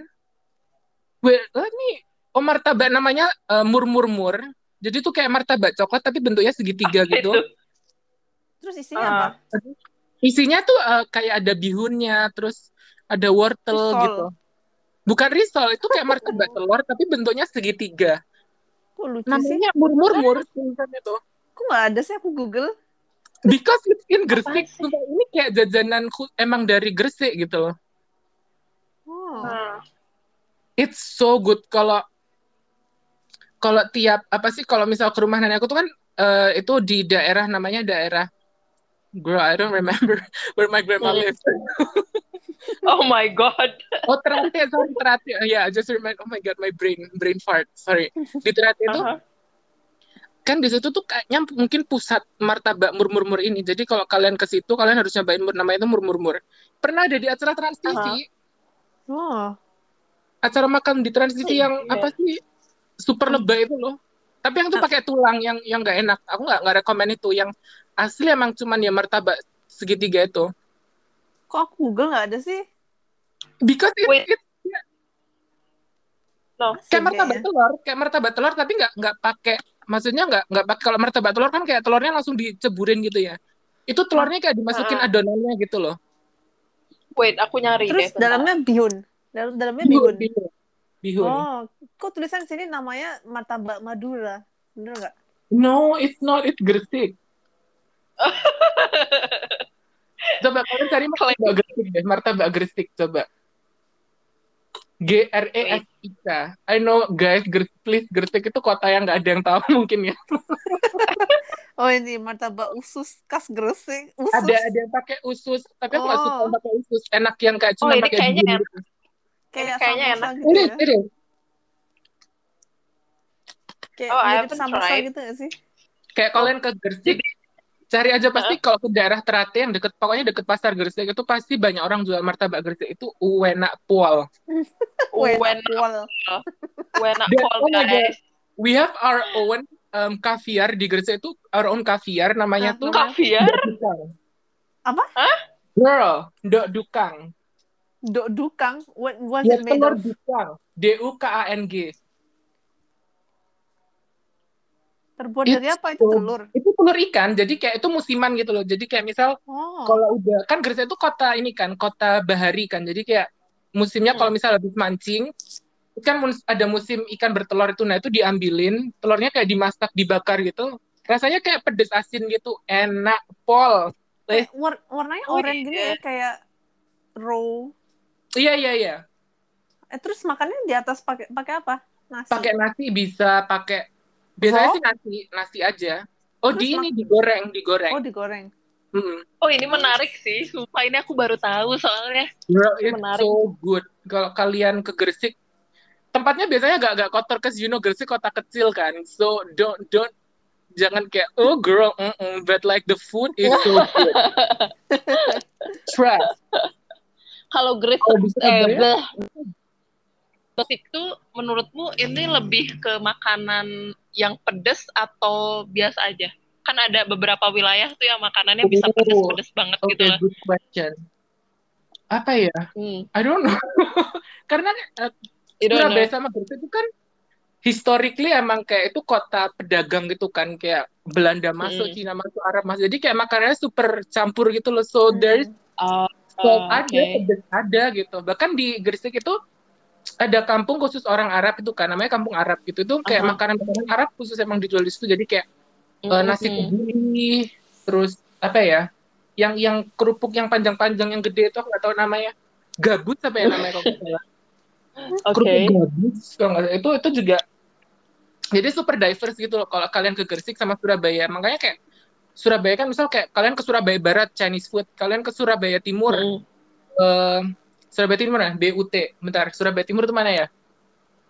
Speaker 1: well, oh, ini oh martabak namanya eh, murmur-mur. Jadi tuh kayak martabak coklat tapi bentuknya segitiga gitu.
Speaker 2: itu
Speaker 3: Terus isinya
Speaker 2: Ah.
Speaker 3: apa?
Speaker 1: Isinya tuh eh, kayak ada bihunnya, terus ada wortel
Speaker 3: Risol.
Speaker 1: gitu. Bukan risol, itu kayak martabak telur tapi bentuknya segitiga.
Speaker 3: Kok lucu sih?
Speaker 1: Namanya murmur-mur tulisan itu.
Speaker 3: Kok nggak ada sih aku Google?
Speaker 1: Because it's in Gresik,
Speaker 2: Apaan sih?
Speaker 1: sumpah, ini kayak jajanan khu- emang dari Gresik gitu loh. Ah.
Speaker 3: Oh.
Speaker 2: Nah,
Speaker 1: It's so good kalau kalau tiap apa sih kalau misal ke rumah nenek aku tuh kan eh, itu di daerah namanya daerah Girl, I don't remember where my grandma
Speaker 2: Hmm.
Speaker 1: lives.
Speaker 2: oh my god
Speaker 1: Oh Terate, sorry Terate. Ya, yeah, I just remind. Oh my god, my brain brain fart. Sorry. Di Terate itu
Speaker 2: Aha.
Speaker 1: kan di situ tuh kayaknya mungkin pusat martabak murmur-mur ini. Jadi kalau kalian ke situ kalian harus nyobain mur- namanya itu murmur-mur. Pernah ada di acara Trans TV.
Speaker 2: Aha.
Speaker 3: Oh.
Speaker 1: acara makan di transisi yang
Speaker 2: Iya.
Speaker 1: apa sih super lebay itu loh tapi yang tuh
Speaker 2: Ah.
Speaker 1: pakai tulang yang yang nggak enak aku nggak nggak rekomen itu yang asli emang cuman ya martabak segitiga itu
Speaker 3: Kok aku Google nggak ada sih?
Speaker 1: because it,
Speaker 2: Wait.
Speaker 1: it
Speaker 2: no
Speaker 1: kayak
Speaker 3: Sedih
Speaker 1: martabak
Speaker 3: ya.
Speaker 1: telur kayak martabak telur tapi nggak nggak pakai maksudnya nggak nggak pakai kalau martabak telur kan kayak telurnya langsung diceburin gitu ya itu telurnya kayak dimasukin
Speaker 2: Ah.
Speaker 1: adonannya gitu loh
Speaker 2: wait aku nyari deh
Speaker 3: Terus
Speaker 2: bentar.
Speaker 3: dalamnya bihun. Dalam dalamnya bihun.
Speaker 1: bihun, bihun.
Speaker 3: Oh, kok tulisan sini namanya martabak Madura. Bener nggak?
Speaker 1: no it's not it's gresik coba kalian cari martabak gresik deh martabak gresik coba G R E S I K I know guys Gres- please gresik itu kota yang nggak ada yang tahu mungkin ya
Speaker 3: Oh ini martabak usus khas Gresik. Usus.
Speaker 1: ada ada yang pakai usus tapi aku nggak
Speaker 3: Oh.
Speaker 1: suka yang pakai usus enak yang kayak cuma
Speaker 2: Oh, ini
Speaker 1: pakai
Speaker 2: kayaknya
Speaker 1: bihun
Speaker 2: enak.
Speaker 1: gitu.
Speaker 3: Kayak
Speaker 2: Kayaknya
Speaker 3: samosa gitu
Speaker 1: Serius,
Speaker 3: ya.
Speaker 1: serius.
Speaker 3: Kayak
Speaker 2: Oh, I
Speaker 3: mirip
Speaker 2: haven't
Speaker 3: samosa
Speaker 2: tried.
Speaker 3: gitu nggak sih?
Speaker 1: kayak kalian
Speaker 2: Oh.
Speaker 1: ke Gresik cari aja pasti kalau ke daerah Ternate yang deket pokoknya deket pasar Gresik itu pasti banyak orang jual martabak Gresik itu uenak pual
Speaker 3: Wena
Speaker 2: Wena
Speaker 3: kual.
Speaker 2: Wena
Speaker 1: Dan-
Speaker 2: call
Speaker 1: oh my God.
Speaker 2: guys
Speaker 1: we have our own um, kaviar di Gresik itu our own kaviar namanya
Speaker 3: Ah,
Speaker 1: tuh
Speaker 3: nama-
Speaker 2: kaviar
Speaker 1: Ndok Dukang.
Speaker 3: Apa?
Speaker 1: Girl, Ndok Dukang.
Speaker 3: Dok dukang. What was
Speaker 1: Ya,
Speaker 3: it made
Speaker 1: telur
Speaker 3: of?
Speaker 1: Dukang. D U K A N G.
Speaker 3: Terbuat dari apa itu
Speaker 1: Itu.
Speaker 3: telur?
Speaker 1: Itu Iya, telur ikan, jadi kayak itu musiman gitu loh. Jadi kayak misal
Speaker 3: Oh.
Speaker 1: kalau udah kan Gresik itu kota ini kan, kota bahari kan. Jadi kayak musimnya
Speaker 2: Hmm.
Speaker 1: kalau misal habis mancing itu kan mus- ada musim ikan bertelur itu nah itu diambilin telurnya kayak dimasak dibakar gitu rasanya kayak pedes asin gitu enak pol
Speaker 3: Kayak war- warnanya
Speaker 2: Oh,
Speaker 3: oranye gini
Speaker 2: iya.
Speaker 3: ya kayak raw.
Speaker 1: iya iya iya
Speaker 3: Eh, terus makannya di atas pakai pakai apa? Nasi.
Speaker 1: pakai nasi bisa pakai biasanya
Speaker 3: Raw?
Speaker 1: sih nasi nasi aja oh
Speaker 3: Terus
Speaker 1: di ini
Speaker 3: mak-
Speaker 1: digoreng digoreng
Speaker 3: Oh, digoreng.
Speaker 1: Mm-mm.
Speaker 2: oh ini menarik sih sumpah ini aku baru tahu soalnya
Speaker 1: Bro, it's
Speaker 2: Menarik.
Speaker 1: so good kalau kalian ke Gresik tempatnya biasanya agak agak kotor cause you know Gresik kota kecil kan so don't don't jangan kayak oh girl mm-mm," but like the food is so good trust
Speaker 2: kalau Gresik
Speaker 1: Kalau di
Speaker 2: eh,
Speaker 1: Surabaya?
Speaker 2: bleh. Gresik tuh menurutmu ini lebih ke makanan yang pedes atau biasa aja kan ada beberapa wilayah tuh yang makanannya bisa
Speaker 1: Oh.
Speaker 2: pedes-pedes banget gitu
Speaker 1: okay
Speaker 2: lah
Speaker 1: good question apa ya
Speaker 2: hmm.
Speaker 1: I don't know karena eh,
Speaker 2: you don't know.
Speaker 1: Surabaya sama Gresik itu kan historically emang kayak itu kota pedagang gitu kan kayak Belanda masuk,
Speaker 2: Hmm.
Speaker 1: Cina masuk, Arab masuk. Jadi kayak makanannya super campur gitu loh. So there's
Speaker 2: Oh,
Speaker 3: Hmm.
Speaker 1: salt
Speaker 2: oke.
Speaker 1: ada, pedas ada gitu. Bahkan di Gresik itu ada kampung khusus orang Arab itu kan namanya kampung Arab gitu. Itu kayak
Speaker 2: Aha.
Speaker 1: makanan-makanan Arab
Speaker 2: Hmm,
Speaker 1: khusus emang dijual di situ. Jadi kayak eh, nasi
Speaker 2: Mm-mm.
Speaker 1: kebuli, terus apa ya? yang yang kerupuk yang panjang-panjang yang gede itu aku nggak tahu namanya gabus apa ya namanya kalau nggak salah.
Speaker 2: hmm.
Speaker 1: kerupuk
Speaker 3: Okay.
Speaker 1: gabus kalau nggak salah. itu itu juga jadi super diverse gitu loh kalau kalian ke Gresik sama Surabaya makanya kayak Surabaya kan misal kayak kalian ke Surabaya Barat Chinese food kalian ke Surabaya Timur
Speaker 2: Mm.
Speaker 1: eh, Surabaya Timur ya BUT bentar Surabaya Timur itu mana ya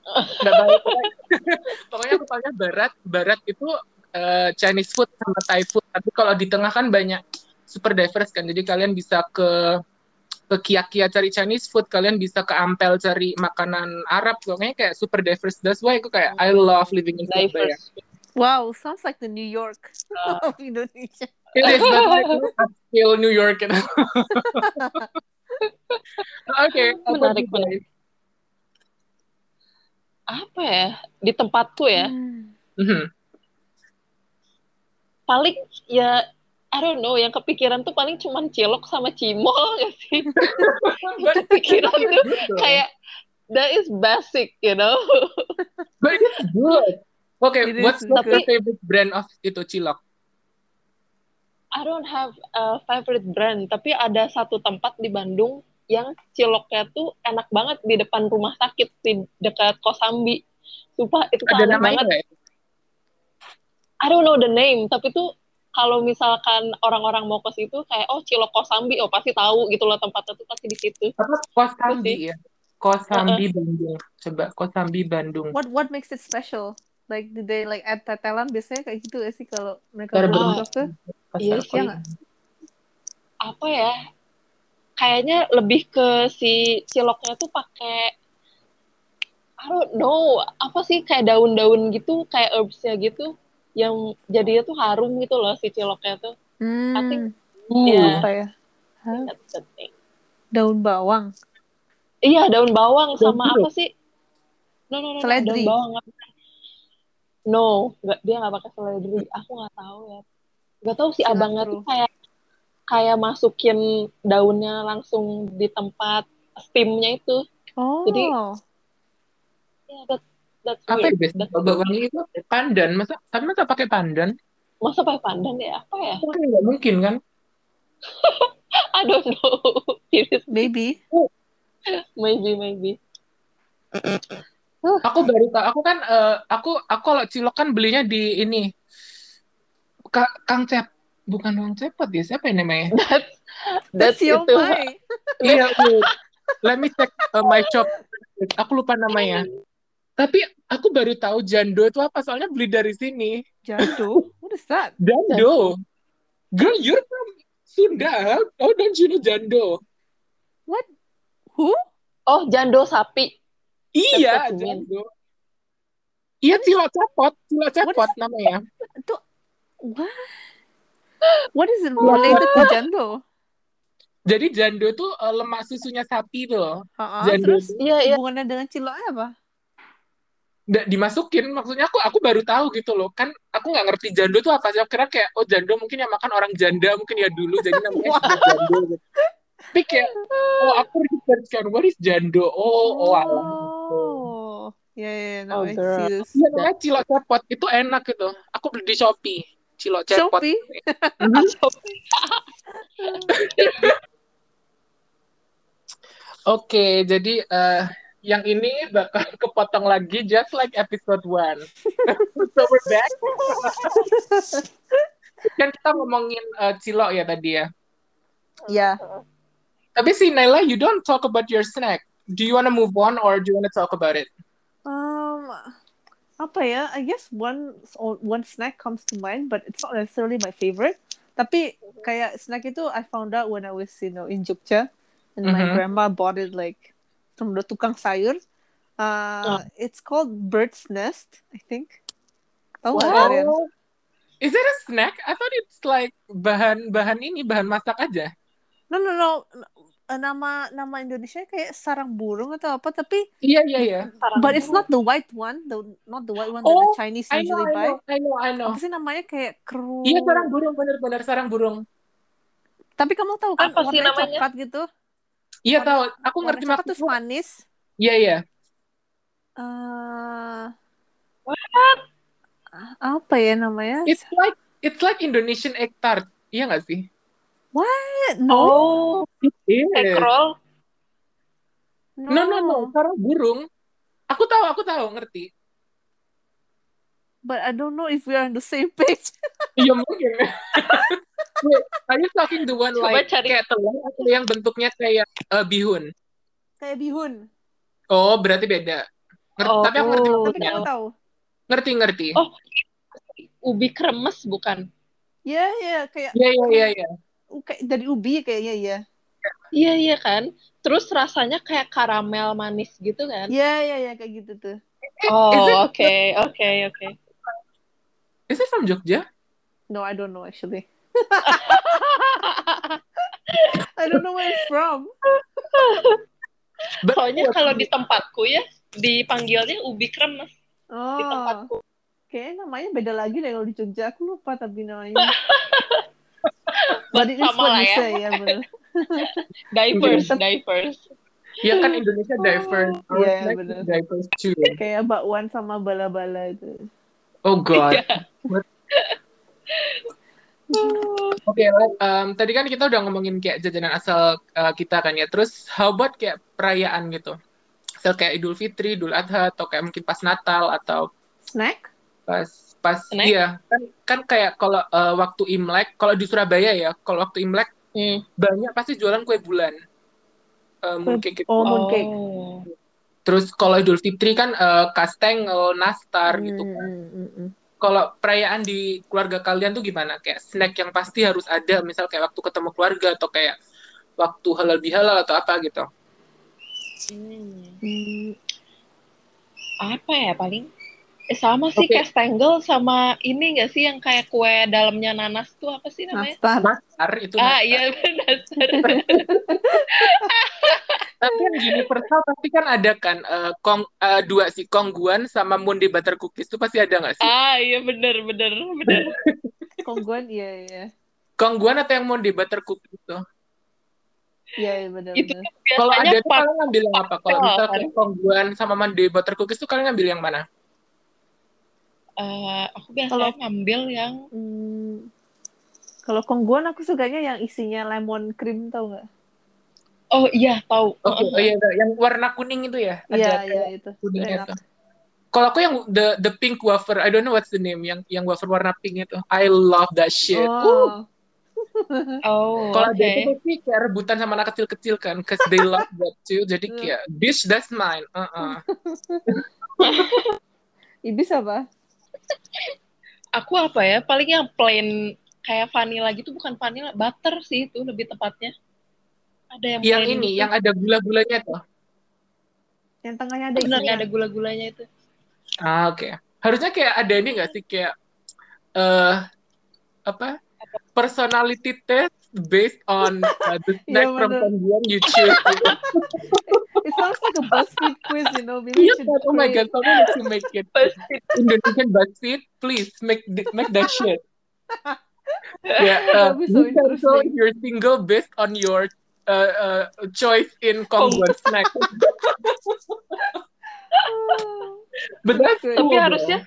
Speaker 1: nggak tahu pokoknya, pokoknya aku panggil Barat Barat itu eh, Chinese food sama Thai food tapi kalau di tengah kan banyak super diverse kan jadi kalian bisa ke ke kia-kia cari Chinese food kalian bisa ke Ampel cari makanan Arab pokoknya kayak super diverse that's why aku kayak I love living in Surabaya
Speaker 2: diverse.
Speaker 3: Hmm. Wow, sounds like the New York
Speaker 1: Ah.
Speaker 3: of Indonesia.
Speaker 1: it is but like upscale New York you know. oke apa
Speaker 2: Menarik,
Speaker 1: sih,
Speaker 2: menarik.
Speaker 1: guys?
Speaker 2: Apa ya? Di tempatku ya.
Speaker 3: Hmm.
Speaker 1: Mhm.
Speaker 2: Paling ya I don't know, yang kepikiran tuh paling cuman cilok sama cimol gak sih? kepikiran tuh
Speaker 1: Betul.
Speaker 2: kayak that is basic, you know.
Speaker 1: But it's good. Okay,
Speaker 3: It is
Speaker 1: what's what's your
Speaker 2: good.
Speaker 1: favorite brand of itu cilok?
Speaker 2: I don't have a favorite brand, tapi ada satu tempat di Bandung yang ciloknya tuh enak banget di depan rumah sakit di dekat Kosambi. Sumpah itu tuh
Speaker 1: Ada
Speaker 2: enak
Speaker 1: namanya
Speaker 2: banget.
Speaker 1: nggak ya?
Speaker 2: I don't know the name, tapi tuh kalau misalkan orang-orang mau ke situ kayak oh cilok Kosambi, oh pasti tahu gitu loh tempatnya tuh pasti di situ.
Speaker 1: Apa Kosambi ya? Kosambi Bandung. Coba Kosambi Bandung.
Speaker 3: What what makes it special? Like did they like add tetelan biasanya kayak gitu gak sih kalau mereka
Speaker 1: Cara
Speaker 3: beli
Speaker 2: berbentuk.
Speaker 3: cilok tuh?
Speaker 2: Iya
Speaker 1: Pasar
Speaker 2: sih.
Speaker 1: Kosambi.
Speaker 2: Apa ya? Kayaknya lebih ke si ciloknya tuh pakai I don't know, apa sih kayak daun-daun gitu, kayak herbs-nya gitu yang jadinya tuh harum gitu loh si ciloknya tuh. I think
Speaker 3: Hmm,
Speaker 2: Iya.
Speaker 3: apa ya? Hah?
Speaker 2: that's the thing.
Speaker 3: Daun bawang.
Speaker 2: Iya, daun bawang
Speaker 1: Daun
Speaker 2: sama
Speaker 1: jeruk.
Speaker 2: apa sih? No, no, no, no,
Speaker 3: Seledri.
Speaker 2: daun bawang. nggak pakai. No, nggak, dia nggak pakai seledri. Aku nggak tahu ya. Nggak tahu si
Speaker 3: Cilantro.
Speaker 2: abangnya tuh kayak kayak masukin daunnya langsung di tempat steamnya itu.
Speaker 3: Oh.
Speaker 2: Jadi- Yeah, that, that's
Speaker 1: Apa ya
Speaker 2: weird.
Speaker 1: biasa
Speaker 2: That's
Speaker 1: kalau wangi itu pandan? Masa tapi masa pakai pandan?
Speaker 2: Masa pakai pandan ya? Apa ya?
Speaker 1: Mungkin nggak mungkin kan?
Speaker 2: I don't know. Serius,
Speaker 3: maybe.
Speaker 2: maybe, maybe.
Speaker 1: Aku baru tahu. Aku kan eh, aku aku kalau cilok kan belinya di ini Ka Kang Cep bukan Kang Cepot ya siapa yang namanya?
Speaker 2: That's that's,
Speaker 3: Siomay.
Speaker 2: itu.
Speaker 1: Iya, Bu. let me check uh, my shop. Aku lupa namanya. Tapi aku baru tahu jando itu apa soalnya beli dari sini.
Speaker 3: Jando? What is that?
Speaker 1: Jando. Girl, you're from Sunda. Oh, don't you know jando?
Speaker 3: What? Who?
Speaker 2: Oh, jando sapi.
Speaker 1: Iya,
Speaker 2: That's what you mean.
Speaker 1: jando. Iya, cilok cepot, cilok cepot namanya.
Speaker 3: What? What is it related to Jando?
Speaker 1: Jadi jando itu uh, lemak susunya sapi tuh.
Speaker 3: Ha-ha,
Speaker 1: Jando
Speaker 3: terus
Speaker 1: itu
Speaker 2: Iya, iya.
Speaker 3: hubungannya dengan ciloknya apa?
Speaker 1: nggak dimasukin, maksudnya aku aku baru tahu gitu loh. Kan aku nggak ngerti jando itu apa sih. Aku kira kayak oh jando mungkin yang makan orang janda mungkin ya dulu jadi namanya
Speaker 3: Wah.
Speaker 1: jando. gitu. Tapi kayak oh aku research kan what is jando? Oh, oh alah.
Speaker 3: Oh. Ya, ya, ya, now
Speaker 2: Oh,
Speaker 3: I
Speaker 2: girl.
Speaker 3: see this.
Speaker 1: Iya, namanya cilok cepot itu enak gitu. Aku beli di Shopee. Cilok cepot.
Speaker 3: Shopee?
Speaker 1: Oke, jadi eh, yang ini bakal kepotong lagi just like episode 1. so we're back. Kan kita ngomongin eh, cilok ya tadi ya.
Speaker 3: Yeah.
Speaker 1: Tapi si Naila, you don't talk about your snack. Do you wanna move on or do you wanna talk about it?
Speaker 3: Um, apa ya? I guess one one snack comes to mind, but it's not necessarily my favorite. Tapi kayak snack itu I found out when I was you know in Jogja, and my
Speaker 1: Mhm.
Speaker 3: grandma bought it like from the tukang sayur.
Speaker 1: Oh.
Speaker 3: Uh, it's called bird's nest, I think. Tahu nggak
Speaker 2: Wow.
Speaker 3: kalian?
Speaker 1: Is it a snack? I thought it's like bahan-bahan ini, bahan masak aja.
Speaker 3: No no no. Eh, Nama nama Indonesia kayak sarang burung atau apa? Tapi
Speaker 1: Iya, iya, iya.
Speaker 3: but it's not the white one, the not the white one that
Speaker 1: Oh,
Speaker 3: the Chinese
Speaker 1: I know, I
Speaker 3: usually buy.
Speaker 1: know, I know, I know.
Speaker 3: Apa sih namanya kayak kru?
Speaker 1: Iya, sarang burung, bener-bener sarang burung.
Speaker 3: Tapi kamu tahu kan
Speaker 2: Apa sih
Speaker 3: warnanya
Speaker 2: namanya?
Speaker 3: coklat gitu?
Speaker 1: Iya, tahu. Aku
Speaker 3: Warna
Speaker 1: ngerti
Speaker 3: coklat terus
Speaker 1: maksudnya.
Speaker 3: manis.
Speaker 1: Iya, iya.
Speaker 3: Eh, ya apa ya namanya?
Speaker 1: It's like it's like Indonesian egg tart. Iya nggak sih?
Speaker 3: What? No.
Speaker 2: Oh,
Speaker 1: Yes.
Speaker 2: egg roll.
Speaker 1: Iya. No, no, no. Sarang burung. Aku tahu, aku tahu, ngerti.
Speaker 3: But I don't know if we are on the same page.
Speaker 1: Iya mungkin. Wait, are you talking the one
Speaker 2: Coba
Speaker 1: like
Speaker 2: cari.
Speaker 1: kayak telur atau yang bentuknya kayak eh, bihun?
Speaker 3: Kayak bihun.
Speaker 1: Oh, berarti beda. Ngerti,
Speaker 2: Oh.
Speaker 1: tapi aku ngerti
Speaker 2: Oh,
Speaker 3: Tapi
Speaker 1: maksudnya.
Speaker 3: kamu tahu?
Speaker 1: Ngerti, ngerti.
Speaker 2: Oh. Ubi kremes bukan?
Speaker 3: Ya, ya, kayak
Speaker 1: Iya, iya, iya, iya.
Speaker 3: kayak dari ubi kayaknya ya.
Speaker 2: Iya iya kan. Terus rasanya kayak karamel manis gitu kan?
Speaker 3: Ya, ya, ya kayak gitu tuh.
Speaker 1: Iya,
Speaker 2: Oh oke oke oke.
Speaker 1: Is it from Jogja?
Speaker 3: No, I don't know actually. I don't know where it's from.
Speaker 1: But-
Speaker 2: Soalnya kalau di tempatku ya dipanggilnya ubi kremes di
Speaker 3: Oh,
Speaker 2: tempatku.
Speaker 3: kayaknya namanya beda lagi deh kalau di Jogja. Aku lupa tapi namanya.
Speaker 2: But
Speaker 3: it is
Speaker 2: sama
Speaker 3: what
Speaker 2: lah
Speaker 3: you
Speaker 2: ya.
Speaker 3: say, ya, bener.
Speaker 2: Diverse
Speaker 1: Iya.
Speaker 2: diverse.
Speaker 1: Ya kan Indonesia diverse. Our
Speaker 3: Iya,
Speaker 1: flag
Speaker 3: bener.
Speaker 1: is diverse too.
Speaker 3: Kayak bakwan sama bala-bala itu.
Speaker 1: Oh God.
Speaker 2: Iya.
Speaker 1: Oke, let- um, tadi kan kita udah ngomongin kayak jajanan asal uh, kita kan ya. Terus how about kayak perayaan gitu? So kayak Idul Fitri, Idul Adha, atau kayak mungkin pas Natal atau
Speaker 3: Snack?
Speaker 1: pas pas
Speaker 2: Snack?
Speaker 1: iya kan kan kayak kalau uh, waktu Imlek, kalau di Surabaya ya, kalau waktu Imlek
Speaker 2: Hmm.
Speaker 1: banyak pasti jualan kue bulan. Uh, mungkin gitu.
Speaker 3: Oh, mooncake.
Speaker 2: Oh.
Speaker 1: Terus kalau Idul Fitri kan uh, kastengel, nastar gitu.
Speaker 2: Hmm.
Speaker 3: Mm, mm, mm, mm.
Speaker 1: Kalau perayaan di keluarga kalian tuh gimana? Kayak snack yang pasti harus ada, misal kayak waktu ketemu keluarga atau kayak waktu halal bihalal atau apa gitu.
Speaker 2: Hmm.
Speaker 3: Mm,
Speaker 1: Iya,
Speaker 2: apa ya paling eh, sama sih
Speaker 1: Oke.
Speaker 2: kayak stangle sama ini enggak sih yang kayak kue dalamnya nanas tuh apa sih namanya?
Speaker 3: nastar.
Speaker 1: Nastar itu nah.
Speaker 2: Ah
Speaker 1: nastar.
Speaker 2: iya benar.
Speaker 1: Tapi yang universal pasti kan ada kan eh, kong eh, dua sih kongguan sama mundi butter cookies itu pasti ada nggak sih?
Speaker 2: Ah iya benar benar benar.
Speaker 3: Kongguan, iya, iya.
Speaker 1: Kongguan atau yang mundi butter cookies itu?
Speaker 3: Iya, iya, bener,
Speaker 1: Gitu.
Speaker 2: Itu
Speaker 3: bener.
Speaker 1: Kalau
Speaker 2: Biasanya
Speaker 1: ada tuh
Speaker 2: pak-
Speaker 1: kalian ngambil yang apa? Kalau
Speaker 2: pastel,
Speaker 1: misal
Speaker 2: kan?
Speaker 1: kayak kongguan sama mundi butter cookies itu kalian ngambil yang mana?
Speaker 2: eh, aku biasanya
Speaker 3: Kalau-
Speaker 2: ngambil yang
Speaker 3: Hmm, kalau kongguan aku sukanya yang isinya lemon cream tau nggak?
Speaker 2: oh iya tahu.
Speaker 1: Oke, oh iya, yang warna kuning itu ya? Ada
Speaker 3: Iya
Speaker 1: kayak
Speaker 3: iya itu.
Speaker 1: kuningnya
Speaker 3: Enak.
Speaker 1: tuh. Kalau aku yang the the pink wafer, I don't know what's the name, yang yang wafer warna pink itu. I love that shit. Uh,
Speaker 2: Oh
Speaker 3: Oh,
Speaker 1: Kalau
Speaker 2: oke.
Speaker 1: ada itu pasti kayak rebutan sama anak kecil-kecil kan, cause they love that too. Jadi
Speaker 3: Hmm.
Speaker 1: kayak, bitch that's mine. Uh-uh.
Speaker 3: ibis apa?
Speaker 2: Aku apa ya paling yang plain kayak vanilla gitu bukan vanilla butter sih itu lebih tepatnya. Ada yang
Speaker 1: Yang
Speaker 2: plain
Speaker 1: ini,
Speaker 2: gitu.
Speaker 1: yang ada gula-gulanya tuh.
Speaker 3: Yang tengahnya ada
Speaker 2: benar
Speaker 3: isinya.
Speaker 2: ada gula-gulanya itu.
Speaker 1: Ah oke. Harusnya kayak ada ini nggak sih kayak eh apa? Personality test based on uh, the snack
Speaker 3: Iya,
Speaker 1: from
Speaker 3: bener.
Speaker 1: Kongguan you choose. gitu.
Speaker 3: It sounds like a BuzzFeed quiz, you know. Maybe we
Speaker 1: Iya,
Speaker 3: should
Speaker 1: kan? oh my
Speaker 3: play.
Speaker 1: god, someone needs to make it.
Speaker 2: Pasti.
Speaker 1: Indonesian BuzzFeed, please make th- make that shit. yeah, uh,
Speaker 3: That'd be so
Speaker 1: you can sell
Speaker 3: interesting.
Speaker 1: your single based on your uh, uh, choice in Congo
Speaker 3: Oh.
Speaker 1: snack. But that's
Speaker 3: Tapi
Speaker 2: Tapi
Speaker 1: cool,
Speaker 2: harusnya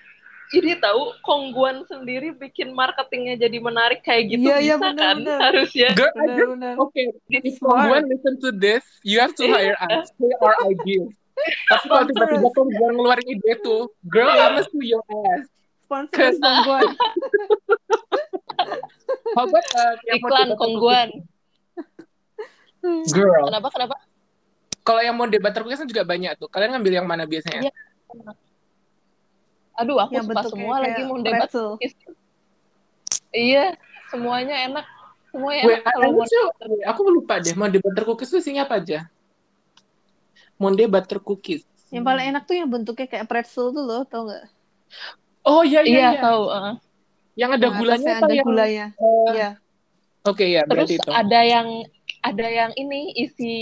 Speaker 2: ini tahu Kongguan sendiri bikin marketingnya jadi menarik kayak gitu
Speaker 3: Iya, iya,
Speaker 2: bisa
Speaker 3: benar,
Speaker 2: kan
Speaker 3: benar.
Speaker 2: harusnya.
Speaker 1: bro. Girl, I
Speaker 3: Benar
Speaker 1: just-
Speaker 3: benar.
Speaker 1: okay,
Speaker 3: It's
Speaker 1: if Kongguan
Speaker 3: smart.
Speaker 1: listen to this, you have to hire us. They are ideas. Tapi kalau
Speaker 3: Sponsor
Speaker 1: tiba-tiba
Speaker 3: us.
Speaker 1: Kongguan ngeluarin ide tuh, girl, I'ma sue your ass.
Speaker 3: Sponsor kongguan.
Speaker 1: How about uh, yang mau
Speaker 2: Iklan
Speaker 1: tiba-tiba-
Speaker 2: Kongguan.
Speaker 1: Girl,
Speaker 2: Kenapa kenapa?
Speaker 1: kalau yang mau debat terkukis kan juga banyak tuh. Kalian ngambil yang mana biasanya?
Speaker 2: Iya. Aduh aku suka
Speaker 3: Yang Iya, bentuknya
Speaker 2: semua lagi mau
Speaker 3: kayak
Speaker 2: debat
Speaker 3: pretzel.
Speaker 2: Iya, semuanya enak. Semuanya
Speaker 1: Wait,
Speaker 2: enak kalau mau.
Speaker 1: aku, tuh- aku lupa deh. Monday butter cookies tuh isinya apa aja? Monday butter cookies.
Speaker 3: Yang paling enak tuh yang bentuknya kayak pretzel tuh loh, tau nggak?
Speaker 1: Oh iya iya.
Speaker 2: Iya,
Speaker 1: iya.
Speaker 2: tahu. uh.
Speaker 1: Yang ada
Speaker 3: Yang atasnya
Speaker 1: gulanya apa
Speaker 3: Ada
Speaker 1: yang?
Speaker 3: gulanya.
Speaker 1: eh,
Speaker 3: Iya.
Speaker 1: Oke ya
Speaker 2: Terus
Speaker 1: berarti itu.
Speaker 2: ada yang ada yang ini isi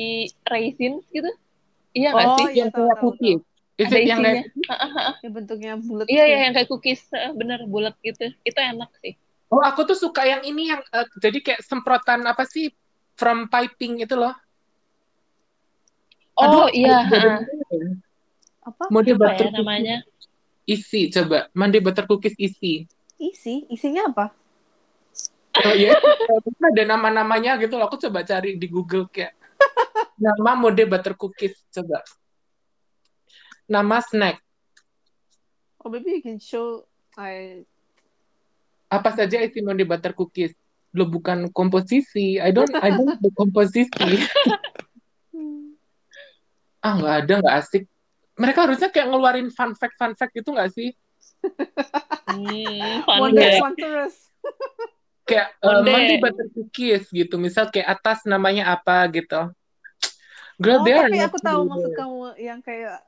Speaker 2: raisins gitu. Iya nggak
Speaker 3: Oh,
Speaker 2: sih?
Speaker 3: iya,
Speaker 1: yang
Speaker 3: tahu,
Speaker 1: kayak
Speaker 3: tahu,
Speaker 1: cookies. Is
Speaker 2: Ada
Speaker 1: it yang kayak-
Speaker 2: isinya.
Speaker 3: Yang bentuknya bulat.
Speaker 2: Iya, iya yang kayak cookies, Heeh, bener bulat gitu. Itu enak sih.
Speaker 1: Oh aku tuh suka yang ini yang eh, jadi kayak semprotan apa sih from piping itu loh.
Speaker 2: Oh
Speaker 1: Aduh,
Speaker 2: iya,
Speaker 1: aku
Speaker 2: heeh.
Speaker 1: Oh, jadi-
Speaker 3: Apa?
Speaker 1: Monday
Speaker 2: apa
Speaker 1: butter
Speaker 2: ya namanya?
Speaker 1: isi coba. Monday butter cookies isi.
Speaker 3: Isi, isinya apa?
Speaker 1: Oh iya, Terus ada nama-namanya gitu loh. Aku coba cari di Google kayak nama mode butter cookies coba. Nama snack
Speaker 3: Or maybe Oh, you can show I
Speaker 1: apa saja isi mode butter cookies. Lo bukan komposisi. I don't I don't do komposisi.
Speaker 3: Hmm.
Speaker 1: ah nggak ada nggak asik. Mereka harusnya kayak ngeluarin fun fact fun fact gitu nggak sih?
Speaker 2: Hmm, fun
Speaker 3: one
Speaker 2: fact.
Speaker 3: day sponsor us.
Speaker 1: Kayak uh,
Speaker 2: Mode.
Speaker 1: mode butter cookies gitu. Misal kayak atas namanya apa gitu. Girl,
Speaker 3: Oh,
Speaker 1: they are
Speaker 3: tapi
Speaker 1: not
Speaker 3: aku tahu
Speaker 1: real.
Speaker 3: maksud kamu yang kayak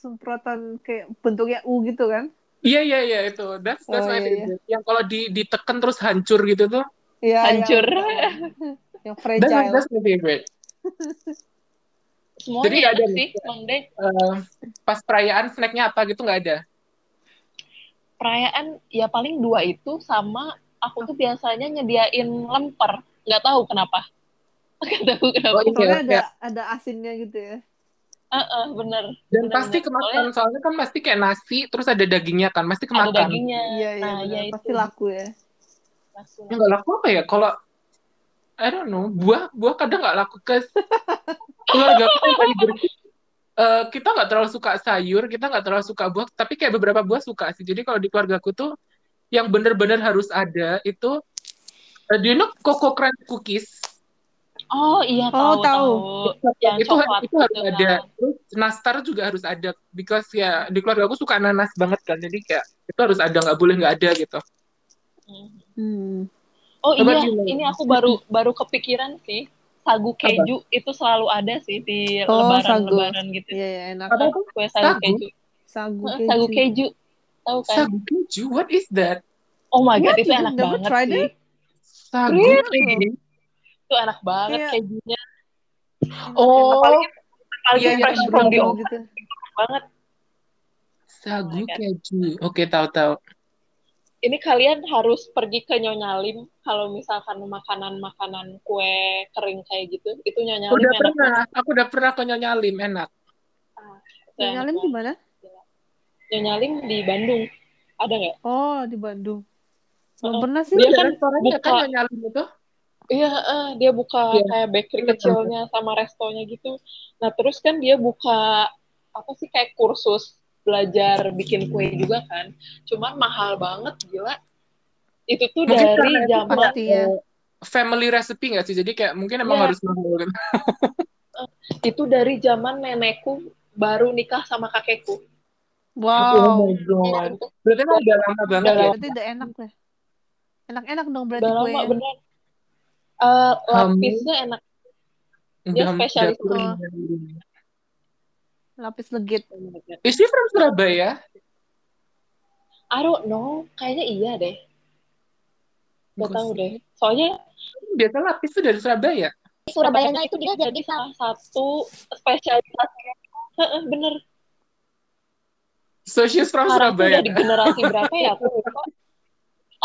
Speaker 3: semprotan kayak bentuknya U gitu kan?
Speaker 1: Iya iya iya itu. That's that's
Speaker 3: Oh,
Speaker 1: my
Speaker 3: iya,
Speaker 1: favorite. Yang kalau di ditekan terus hancur gitu tuh.
Speaker 3: Iya.
Speaker 2: Hancur.
Speaker 3: Yang, yang
Speaker 1: That's my,
Speaker 3: fragile.
Speaker 1: that's my favorite.
Speaker 2: Semuanya
Speaker 1: Jadi nggak ada
Speaker 2: enak sih, one day.
Speaker 1: Uh, pas perayaan snacknya apa gitu nggak ada.
Speaker 2: Perayaan ya paling dua itu sama aku tuh biasanya nyediain lemper. Nggak tahu kenapa. Nggak tahu kenapa.
Speaker 1: Oh,
Speaker 3: Soalnya
Speaker 1: Iya,
Speaker 3: ada ada asinnya gitu ya.
Speaker 2: Heeh, bener.
Speaker 1: Dan
Speaker 2: Bener,
Speaker 1: pasti
Speaker 2: bener.
Speaker 1: kemakan soalnya kan pasti kayak nasi terus ada dagingnya kan pasti
Speaker 2: Ada
Speaker 1: kemakan.
Speaker 2: dagingnya.
Speaker 3: Iya iya.
Speaker 2: nah,
Speaker 3: benar.
Speaker 2: ya itu.
Speaker 3: Pasti laku ya.
Speaker 2: Langsung.
Speaker 1: Nggak laku apa ya? Kalau I don't know buah buah kadang nggak laku ke keluarga aku yang paling bersih. Eh, kita nggak terlalu suka sayur, kita nggak terlalu suka buah, tapi kayak beberapa buah suka sih. Jadi kalau di keluarga aku tuh yang bener-bener harus ada itu, eh, do you know Coco Crunch Cookies?
Speaker 2: Oh iya
Speaker 3: Oh,
Speaker 2: tahu
Speaker 3: tahu.
Speaker 2: tahu. Yang
Speaker 1: itu itu
Speaker 2: coklat
Speaker 1: harus
Speaker 2: gitu kan.
Speaker 1: ada terus nastar juga harus ada because ya di keluarga aku suka nanas banget kan jadi kayak itu harus ada nggak boleh nggak ada gitu
Speaker 2: Hmm.
Speaker 3: Hmm.
Speaker 2: Oh
Speaker 1: Coba
Speaker 2: iya,
Speaker 1: dulu.
Speaker 2: ini aku baru baru kepikiran sih. Sagu keju itu selalu ada sih di
Speaker 3: Oh, sagu.
Speaker 2: lebaran-lebaran gitu.
Speaker 3: Iya iya enak.
Speaker 1: Apa? tuh?
Speaker 2: Kue sagu,
Speaker 1: Sagu?
Speaker 2: keju.
Speaker 3: Sagu
Speaker 2: Heeh, Eh,
Speaker 3: keju.
Speaker 2: Sagu keju. Tahu kan?
Speaker 1: sagu Iya, keju what is that
Speaker 2: Oh my god,
Speaker 3: What?
Speaker 2: itu
Speaker 3: You
Speaker 2: enak
Speaker 3: never
Speaker 2: banget
Speaker 3: tried
Speaker 2: sih.
Speaker 3: it?
Speaker 1: sagu
Speaker 3: Really?
Speaker 2: Itu enak banget
Speaker 1: Iya.
Speaker 3: Kayak-
Speaker 2: kejunya.
Speaker 1: oh
Speaker 2: Apalagi apalagi
Speaker 1: Iya, iya,
Speaker 2: fresh
Speaker 1: yang
Speaker 2: from Eh. the oven
Speaker 3: Berondong gitu.
Speaker 2: banget.
Speaker 1: sagu
Speaker 2: Oh my
Speaker 1: Iya.
Speaker 2: God.
Speaker 1: keju oke tahu tahu
Speaker 2: Ini kalian harus pergi ke Nyonya Lim kalau misalkan makanan-makanan kue kering kayak gitu, itu Nyonya Lim
Speaker 1: udah
Speaker 2: enak
Speaker 1: pernah
Speaker 2: banget.
Speaker 1: aku udah pernah ke Nyonya Lim enak
Speaker 2: Itu enak
Speaker 3: Nyalem
Speaker 2: banget.
Speaker 3: di mana?
Speaker 2: Nyonya Lim di Bandung. Ada nggak?
Speaker 3: Oh, di Bandung. Belum
Speaker 2: Oh,
Speaker 3: pernah sih.
Speaker 2: Iya
Speaker 1: Ada
Speaker 2: kan,
Speaker 1: restorannya kan
Speaker 2: buka.
Speaker 1: Nyonya Lim itu
Speaker 2: Iya, eh, dia buka
Speaker 1: Iya.
Speaker 2: kayak bakery
Speaker 1: Iya,
Speaker 2: kecilnya sama restonya gitu. Nah, terus kan dia buka apa sih kayak kursus belajar bikin
Speaker 1: Hmm.
Speaker 2: kue juga kan. Cuman mahal banget gila. Itu tuh
Speaker 1: Mungkin
Speaker 2: dari
Speaker 1: karena itu
Speaker 2: zaman eh,
Speaker 3: pasti ya.
Speaker 1: family recipe nggak sih jadi kayak mungkin emang
Speaker 2: Iya.
Speaker 1: harus mahal gitu
Speaker 2: itu dari zaman nenekku baru nikah sama kakekku. Iya,
Speaker 1: oh my god
Speaker 3: Wow.
Speaker 1: berarti emang udah lama banget
Speaker 2: Udah
Speaker 1: ya
Speaker 3: Berarti udah enak lah. Enak-enak dong berarti
Speaker 2: Udah
Speaker 3: kue.
Speaker 2: lama bener. Eh,
Speaker 1: Kamu-
Speaker 2: lapisnya enak. Dia
Speaker 1: Udah-
Speaker 2: spesialis
Speaker 1: udah
Speaker 3: banget.
Speaker 1: kering.
Speaker 3: Lapis legit.
Speaker 2: banget.
Speaker 1: Is she from Surabaya?
Speaker 2: I don't know, kayaknya iya deh. Gak tahu deh. Soalnya
Speaker 1: Biasa lapis tuh dari Surabaya.
Speaker 2: Surabayanya itu dia jadi salah satu spesialisasinya. Heeh, bener.
Speaker 1: So she's from
Speaker 2: Sekarang tuh
Speaker 1: Surabaya.
Speaker 2: udah di generasi berapa ya? Aku lupa.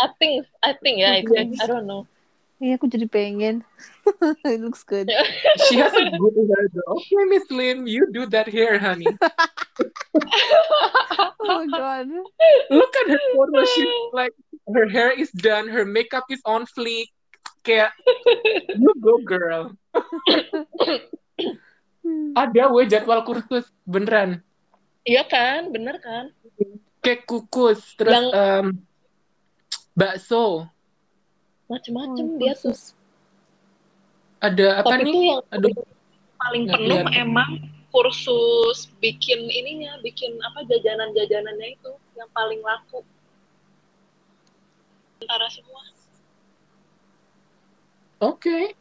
Speaker 2: I think, I think ya, I think. I don't know.
Speaker 3: Iya, aku jadi pengen. It looks good.
Speaker 2: Ya.
Speaker 1: She has a good hair though. Okay, Miss Lim, you do that hair, honey.
Speaker 3: Oh my god.
Speaker 1: Look at her photo. She's like, her hair is done, her makeup is on fleek. Kayak, you go girl.
Speaker 3: Hmm.
Speaker 1: Ada we jadwal kursus, beneran.
Speaker 2: Iya kan, bener kan?
Speaker 1: Kayak kukus, terus
Speaker 2: Yang-
Speaker 1: em, bakso.
Speaker 2: Macem-macem dia tuh.
Speaker 3: Khusus.
Speaker 1: Ada apa
Speaker 2: Tapi
Speaker 1: nih?
Speaker 2: tuh yang
Speaker 1: Aduh.
Speaker 2: paling
Speaker 1: Nggak
Speaker 2: penuh
Speaker 1: kelihatan.
Speaker 2: emang kursus bikin ininya, bikin apa jajanan-jajanannya itu yang paling laku. Antara semua.
Speaker 1: Oke,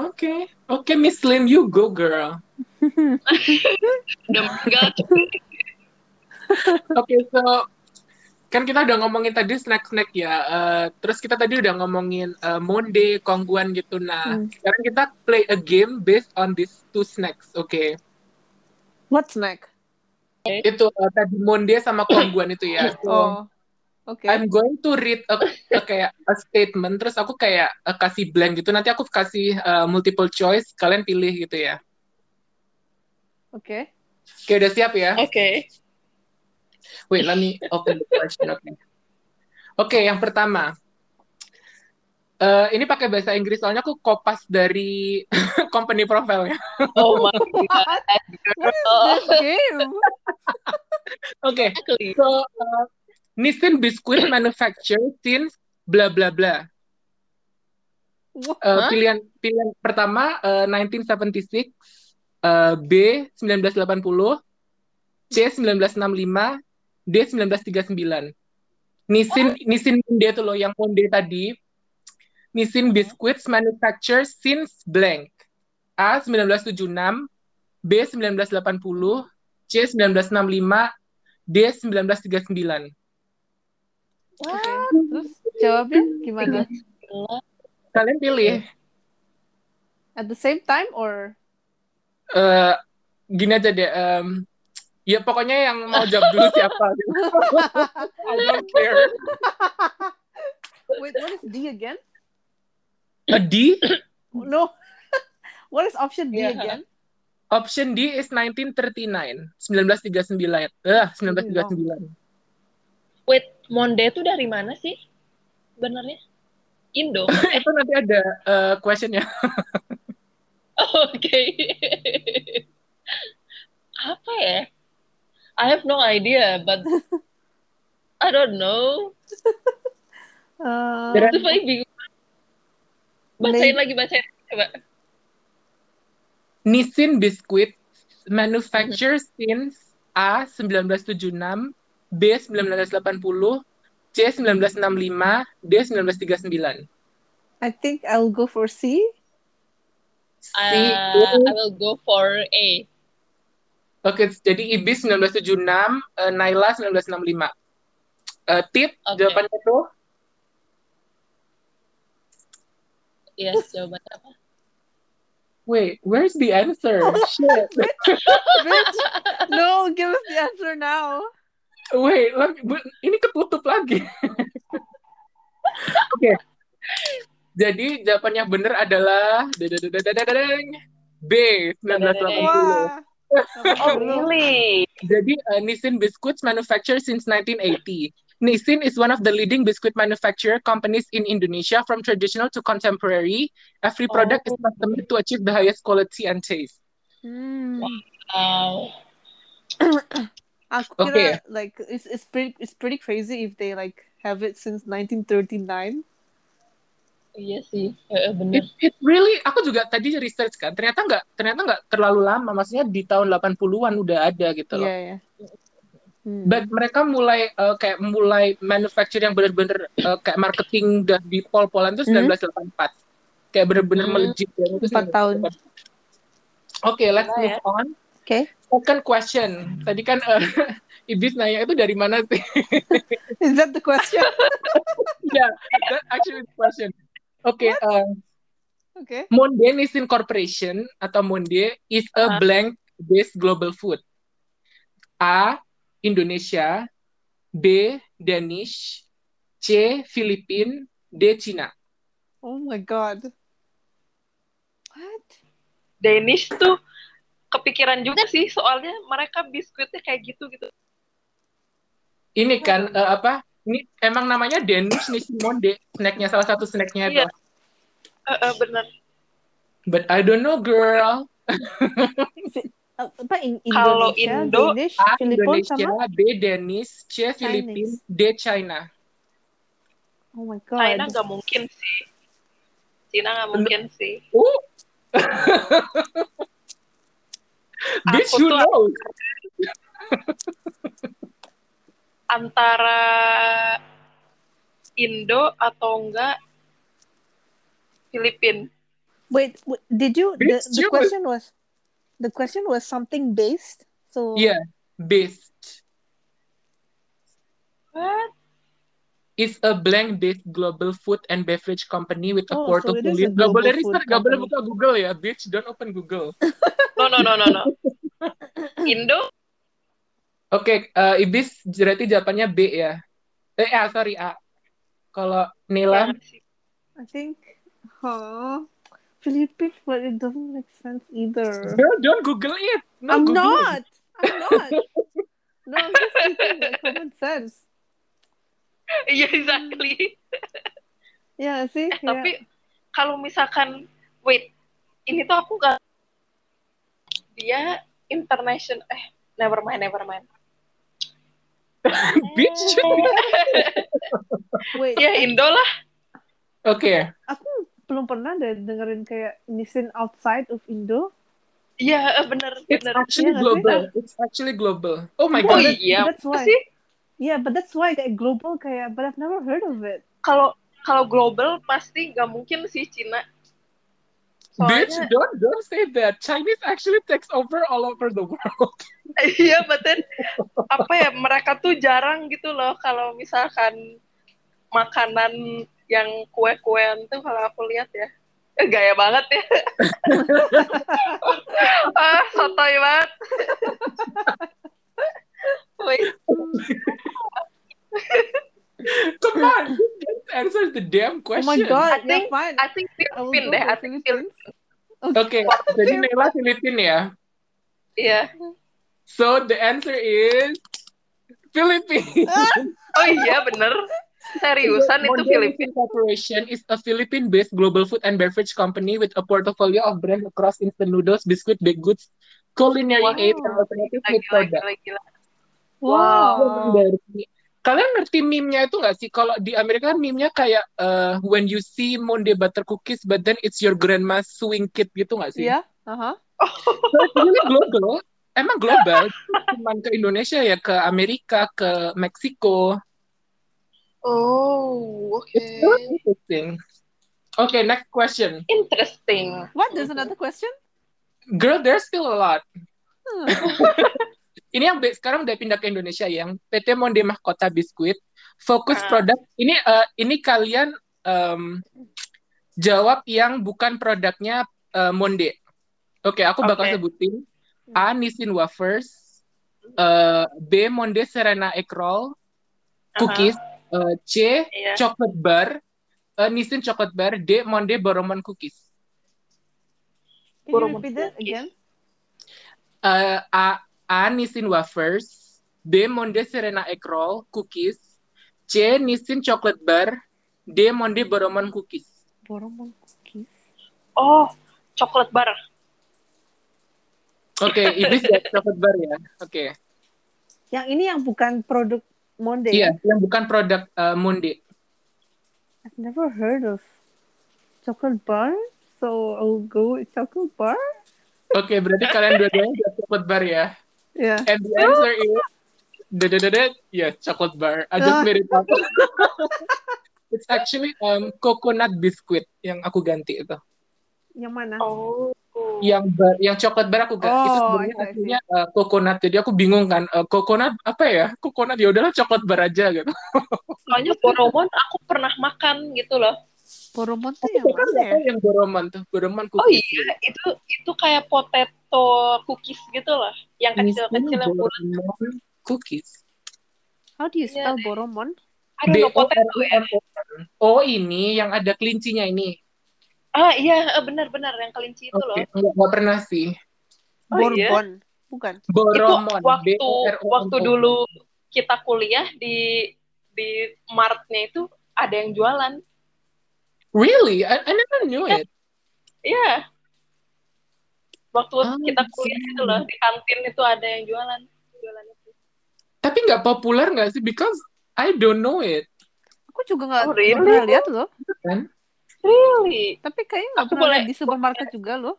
Speaker 1: oke, oke, Miss Lim, you go girl.
Speaker 2: Udah meninggal.
Speaker 1: Oke, so kan kita udah ngomongin tadi snack-snack ya. eh, terus kita tadi udah ngomongin eh, monde, kongguan gitu. Nah,
Speaker 3: Hmm.
Speaker 1: sekarang kita play a game based on these two snacks. Oke.
Speaker 3: What snack?
Speaker 1: Itu eh, tadi monde sama kongguan itu ya. So,
Speaker 3: Oh. Oke.
Speaker 1: I'm going to read a, a kayak a statement terus aku kayak eh, kasih blank gitu. Nanti aku kasih eh, multiple choice, kalian pilih gitu ya.
Speaker 3: Oke.
Speaker 1: Oke, udah siap ya?
Speaker 2: Oke.
Speaker 1: Wait, let me open the question. Oke, Oke, yang pertama. Eh, ini pakai bahasa Inggris soalnya aku kopas dari company profile ya.
Speaker 2: Oh my god. Oh.
Speaker 3: What is this game?
Speaker 1: Oke.
Speaker 2: Exactly.
Speaker 1: So uh, Nissin biscuit manufacture since bla bla bla.
Speaker 3: What?
Speaker 1: Uh,
Speaker 2: Hah?
Speaker 1: pilihan pilihan pertama uh, 1976, uh, B 1980, C 1965, D 1939. Nissin Nissin Monde itu loh yang Monde tadi. Nissin Biscuits manufacture since blank. A 1976, B 1980, C 1965, D 1939.
Speaker 3: Okay. Terus jawabnya gimana?
Speaker 1: Kalian pilih.
Speaker 3: At the same time or
Speaker 1: eh gini aja deh. em, ya pokoknya yang mau jawab dulu siapa. gitu. I don't care.
Speaker 3: wait, what is D again?
Speaker 1: A Eh, D,
Speaker 3: No. what is option D
Speaker 2: Yeah.
Speaker 3: again?
Speaker 1: option D is 1939, 1939. Eh, 1939.
Speaker 2: Wait, Monde itu dari mana sih? Benernya? Indo.
Speaker 1: Itu nanti ada eh, questionnya.
Speaker 2: Oke. Apa ya? I have no idea, but I don't know.
Speaker 3: Uh,
Speaker 1: There are-
Speaker 2: Terus paling bingung. Bacain lagi, bacain lagi, coba.
Speaker 1: Nissin biscuit manufacture since A 1976, B 1980, C 1965, D 1939.
Speaker 3: I think I'll go for C.
Speaker 1: C, oh. O,
Speaker 2: Uh, I will go for A.
Speaker 1: Oke, jadi Ibis 1976, eh, Naila 1965. Eh, tip
Speaker 2: Oke.
Speaker 1: jawabannya itu
Speaker 2: Yes, jawaban apa?
Speaker 1: wait, where's the answer? Shit.
Speaker 3: Bitch, no, give us the answer now.
Speaker 1: Wait, look, bu- ini ketutup lagi. Oke. Jadi jawaban yang benar adalah dadadadadadadadeng, B 1980.
Speaker 3: Wah.
Speaker 2: Oh, really?
Speaker 1: Jadi eh, Nissin Biscuits manufactured since 1980. Nissin is one of the leading biscuit manufacturer companies in Indonesia from traditional to contemporary. Every product is customized to achieve the highest quality and taste.
Speaker 3: Hmm.
Speaker 2: Wow.
Speaker 3: Aku
Speaker 1: Okay.
Speaker 3: kira, like it's it's pretty it's pretty crazy if they like have it since 1939.
Speaker 2: Iya sih, Eh, eh, bener.
Speaker 1: It, it really, aku juga tadi research kan, ternyata nggak ternyata nggak terlalu lama, maksudnya di tahun 80-an udah ada gitu loh.
Speaker 3: Yeah, yeah. Hmm.
Speaker 1: But mereka mulai eh, kayak mulai manufacture yang bener-bener eh, kayak marketing udah di pol-polan itu
Speaker 3: Hmm.
Speaker 1: 1984. Kayak bener-bener
Speaker 2: Hmm.
Speaker 1: melejit dan itu
Speaker 3: Empat tahun.
Speaker 1: 1984. Oke, let's
Speaker 2: Gila ya.
Speaker 1: move on.
Speaker 3: okay.
Speaker 1: Second question. Tadi kan eh, Ibis nanya itu dari mana sih?
Speaker 3: Is that the question?
Speaker 1: ya, that actually the question. Oke, eh,
Speaker 3: okay.
Speaker 1: Monde Nissin Corporation atau Monde is a
Speaker 2: Hah?
Speaker 1: blank based global food. A. Indonesia. B. Danish. C. Filipina. D. Cina.
Speaker 3: Oh my god. What?
Speaker 2: Danish tuh kepikiran juga sih, soalnya mereka biskuitnya kayak gitu gitu.
Speaker 1: Ini
Speaker 2: Hmm.
Speaker 1: kan eh, apa? Ini emang namanya Danish Nissin Monde. Snacknya salah satu snacknya itu.
Speaker 2: Iya. Eh, eh, bener.
Speaker 1: But I don't know, girl.
Speaker 3: Apa Uh, in
Speaker 2: Kalau
Speaker 3: Indonesia,
Speaker 2: Indo, ah,
Speaker 3: Danish,
Speaker 1: A.
Speaker 3: Filipino
Speaker 1: Indonesia.
Speaker 3: sama?
Speaker 1: B. Danish. C. Filipina. D. China.
Speaker 3: Oh my
Speaker 2: China
Speaker 3: god.
Speaker 2: nggak mungkin sih. Cina nggak mungkin sih.
Speaker 1: Uh. Bitch,
Speaker 2: Aku
Speaker 1: who
Speaker 2: tuh-
Speaker 1: knows?
Speaker 2: Antara Indo atau enggak Filipin.
Speaker 3: Wait, wait, did you the,
Speaker 1: Bitch,
Speaker 3: the
Speaker 1: you-
Speaker 3: question was the question was something based? So
Speaker 1: Yeah, based.
Speaker 2: What?
Speaker 1: is a blank-based global food and beverage company with a
Speaker 3: Oh,
Speaker 1: core
Speaker 3: so
Speaker 1: to
Speaker 3: it
Speaker 1: fully
Speaker 3: is a
Speaker 1: global
Speaker 3: global
Speaker 1: dari
Speaker 3: food
Speaker 1: start gak boleh
Speaker 3: company.
Speaker 1: buka Google ya bitch don't open Google oke
Speaker 2: No no no no no. Indo
Speaker 1: eh, Ibis berarti jawabannya B ya eh A sorry A kalau Nila
Speaker 2: jangan
Speaker 3: Ya.
Speaker 2: kan sih.
Speaker 3: I think huh, Philippines, but it doesn't make sense either.
Speaker 1: girl don't Google it no
Speaker 3: I'm
Speaker 1: Google it.
Speaker 3: not. I'm not. no, I'm just thinking like common sense.
Speaker 1: Iya.
Speaker 2: Iya exactly.
Speaker 3: Ya sih.
Speaker 2: Eh,
Speaker 3: ya.
Speaker 2: tapi kalau misalkan wait ini tuh aku gak dia international eh never mind never mind
Speaker 1: Bitch.
Speaker 3: Wait,
Speaker 2: ya Indo lah
Speaker 1: Oke.
Speaker 3: aku belum pernah deh dengerin kayak Nissin outside of Indo.
Speaker 2: ya bener
Speaker 1: It's
Speaker 2: bener
Speaker 1: actually
Speaker 3: Iya nggak sih?
Speaker 1: global. It's actually global. Oh my
Speaker 2: oh
Speaker 1: god.
Speaker 3: that-
Speaker 2: iya
Speaker 3: that's
Speaker 2: apa
Speaker 3: why.
Speaker 2: sih
Speaker 3: Yeah, but that's why kayak global kayak, but I've never heard of it.
Speaker 2: kalau kalau global pasti gak mungkin sih Cina
Speaker 1: Bitch,
Speaker 2: soalnya
Speaker 1: don't don't say that. Chinese actually takes over all over the world.
Speaker 2: iya betul apa ya mereka tuh jarang gitu loh kalau misalkan makanan yang kue-kuean tuh kalau aku lihat ya Eh, gaya banget ya ah sotoy banget Wait,
Speaker 1: Come on, just answer the damn
Speaker 3: Oh
Speaker 1: question.
Speaker 3: my
Speaker 2: I
Speaker 3: god, yeah,
Speaker 2: think-
Speaker 3: fine.
Speaker 2: I think
Speaker 3: I will
Speaker 2: Filipin
Speaker 3: go
Speaker 2: deh,
Speaker 3: for
Speaker 2: I think Filipin.
Speaker 3: Philippines.
Speaker 1: Oke, jadi Nela Filipin ya.
Speaker 2: Iya.
Speaker 1: So the answer is Philippines.
Speaker 2: Oh iya bener. Seriusan itu
Speaker 1: Mondelez
Speaker 2: Filipin.
Speaker 1: Corporation is a Philippine-based global food and beverage company with a portfolio of brands across instant noodles, biscuit, baked goods, culinary
Speaker 2: Wow.
Speaker 1: aids, and alternative food
Speaker 2: Gila,
Speaker 1: products.
Speaker 2: gila, gila.
Speaker 1: Memang
Speaker 3: Wow.
Speaker 1: dari- Kalian ngerti meme-nya itu nggak sih? Kalau di Amerika kan meme-nya kayak eh, when you see Monday butter cookies, but then it's your grandma's swing kit gitu nggak sih?
Speaker 3: Yeah. Uh-huh.
Speaker 1: Ini global. Emang global. Cuman ke Indonesia ya, ke Amerika, ke Meksiko.
Speaker 2: Oh, oke.
Speaker 1: It's so interesting. Okay, next question.
Speaker 2: Interesting.
Speaker 3: What? There's another question?
Speaker 1: Girl, there's still a lot.
Speaker 3: Hmm.
Speaker 1: Ini yang be- sekarang udah pindah ke Indonesia yang PT Monde Mahkota Biskuit. Fokus
Speaker 2: Ah.
Speaker 1: produk. Ini eh, ini kalian em, jawab yang bukan produknya eh, Monde. Oke, aku bakal
Speaker 2: Oke. Hmm.
Speaker 1: sebutin. A. Nissin Wafers. Eh, B. Monde Serena Egg Roll. Cookies. Eh, C.
Speaker 2: Iya.
Speaker 1: Chocolate Bar. Eh, Nissin Chocolate Bar. D. Monde Boromon Cookies.
Speaker 3: Can you repeat that again?
Speaker 1: uh, A, A Nissin Wafers, B Monde Serena Egg Roll Cookies, C Nissin Chocolate Bar, D Monde Boromon Cookies.
Speaker 3: Boromon cookies.
Speaker 2: Oh, coklat bar.
Speaker 1: Oke, Ibis ya Chocolate Bar ya. Oke.
Speaker 3: Yang ini yang bukan produk Monde.
Speaker 1: Iya, yang bukan produk uh, Monde.
Speaker 3: I've never heard of chocolate bar, so I'll go with chocolate bar.
Speaker 1: Oke, berarti kalian dua-duanya jawab Chocolate Bar ya.
Speaker 3: Yeah.
Speaker 1: And the answer is Dededede, yes, Ya, chocolate bar. I just made it up. It's actually um, coconut biscuit yang aku ganti itu.
Speaker 3: Yang mana?
Speaker 2: Oh.
Speaker 1: yang bar, yang coklat bar aku gak itu
Speaker 3: Oh,
Speaker 1: sebenarnya
Speaker 3: I see, I see.
Speaker 1: aslinya uh, coconut jadi aku bingung kan uh, coconut apa ya coconut ya udahlah coklat bar aja
Speaker 2: Iya,
Speaker 1: gitu
Speaker 2: Soalnya Boromon aku pernah makan gitu loh.
Speaker 3: Boromon tuh
Speaker 1: tapi
Speaker 3: yang
Speaker 1: kan
Speaker 3: mana
Speaker 1: nggak
Speaker 3: ya?
Speaker 1: tahu yang boromon tuh boromon
Speaker 2: Oh
Speaker 1: cookies
Speaker 2: iya, itu itu kayak potato cookies gitu loh. Yang kecil-kecil yang bulat.
Speaker 1: boromon cookies
Speaker 3: How do you
Speaker 2: Iya
Speaker 3: spell
Speaker 2: deh.
Speaker 3: Boromon?
Speaker 2: I don't know, potato ya.
Speaker 1: B-O-R-O-M-O-N. oh ini yang ada kelincinya ini
Speaker 2: Ah iya, eh, benar-benar yang kelinci itu loh.
Speaker 1: oke nggak nggak pernah sih
Speaker 2: Oh, iya.
Speaker 3: Borbon. Bukan.
Speaker 2: Itu
Speaker 1: boromon
Speaker 2: waktu
Speaker 1: B-O-R-O-M-O-N.
Speaker 2: waktu dulu kita kuliah di di martnya itu ada yang jualan.
Speaker 1: really I, I never knew it
Speaker 2: Iya. Waktu
Speaker 1: Ah,
Speaker 2: kita kuliah
Speaker 1: iya.
Speaker 2: itu loh di kantin itu ada yang jualan, jualan itu.
Speaker 1: tapi nggak populer nggak sih because I don't know it kan?
Speaker 3: Aku juga nggak
Speaker 2: Oh, really?
Speaker 3: nggak pernah lihat loh.
Speaker 2: Really?
Speaker 3: Tapi kayaknya nggak
Speaker 2: Aku
Speaker 3: pernah
Speaker 2: boleh-
Speaker 3: lihat di supermarket juga loh.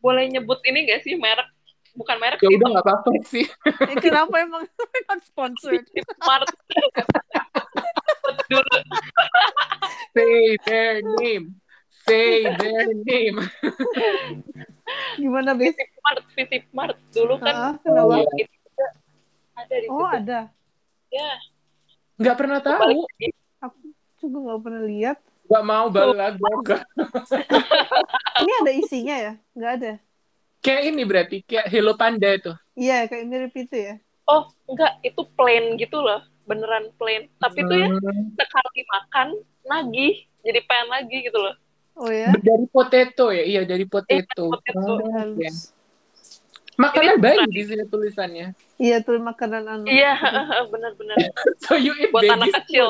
Speaker 2: Boleh nyebut ini gak sih merek? Bukan merek
Speaker 1: ya
Speaker 2: sih,
Speaker 1: udah nggak apa-apa sih
Speaker 3: Eh, kenapa emang We're not sponsored?
Speaker 2: di Mart. Dulu
Speaker 1: Say their name. Say their name.
Speaker 3: Gimana bis?
Speaker 2: Visip Mart, Visip Mart dulu kan
Speaker 3: Ah, kenapa?
Speaker 1: Iya.
Speaker 2: itu juga ada di
Speaker 3: Oh
Speaker 2: situ.
Speaker 3: ada.
Speaker 2: Ya,
Speaker 1: Nggak pernah
Speaker 2: balik
Speaker 1: tahu.
Speaker 2: lagi.
Speaker 3: Aku juga nggak pernah lihat.
Speaker 1: Nggak mau balik. Gua nggak-
Speaker 3: Ini ada isinya ya? Nggak ada.
Speaker 1: Kayak ini berarti. Kayak Hello Panda itu.
Speaker 3: Iya kayak mirip itu ya.
Speaker 2: Oh, enggak, itu plain gitu loh. Beneran plain. Tapi itu ya
Speaker 1: Hmm.
Speaker 2: sekali makan, nagih. Jadi pengen lagi gitu loh.
Speaker 3: Oh ya.
Speaker 1: Dari potato ya? Iya, dari potato.
Speaker 2: Iya, potato.
Speaker 1: Oh, oke.
Speaker 3: Halus.
Speaker 1: Makanan bayi di sini tulisannya.
Speaker 3: Iya tuh makanan anak.
Speaker 2: Iya, bener-bener.
Speaker 1: So you eat
Speaker 2: Buat anak
Speaker 1: baby.
Speaker 2: kecil.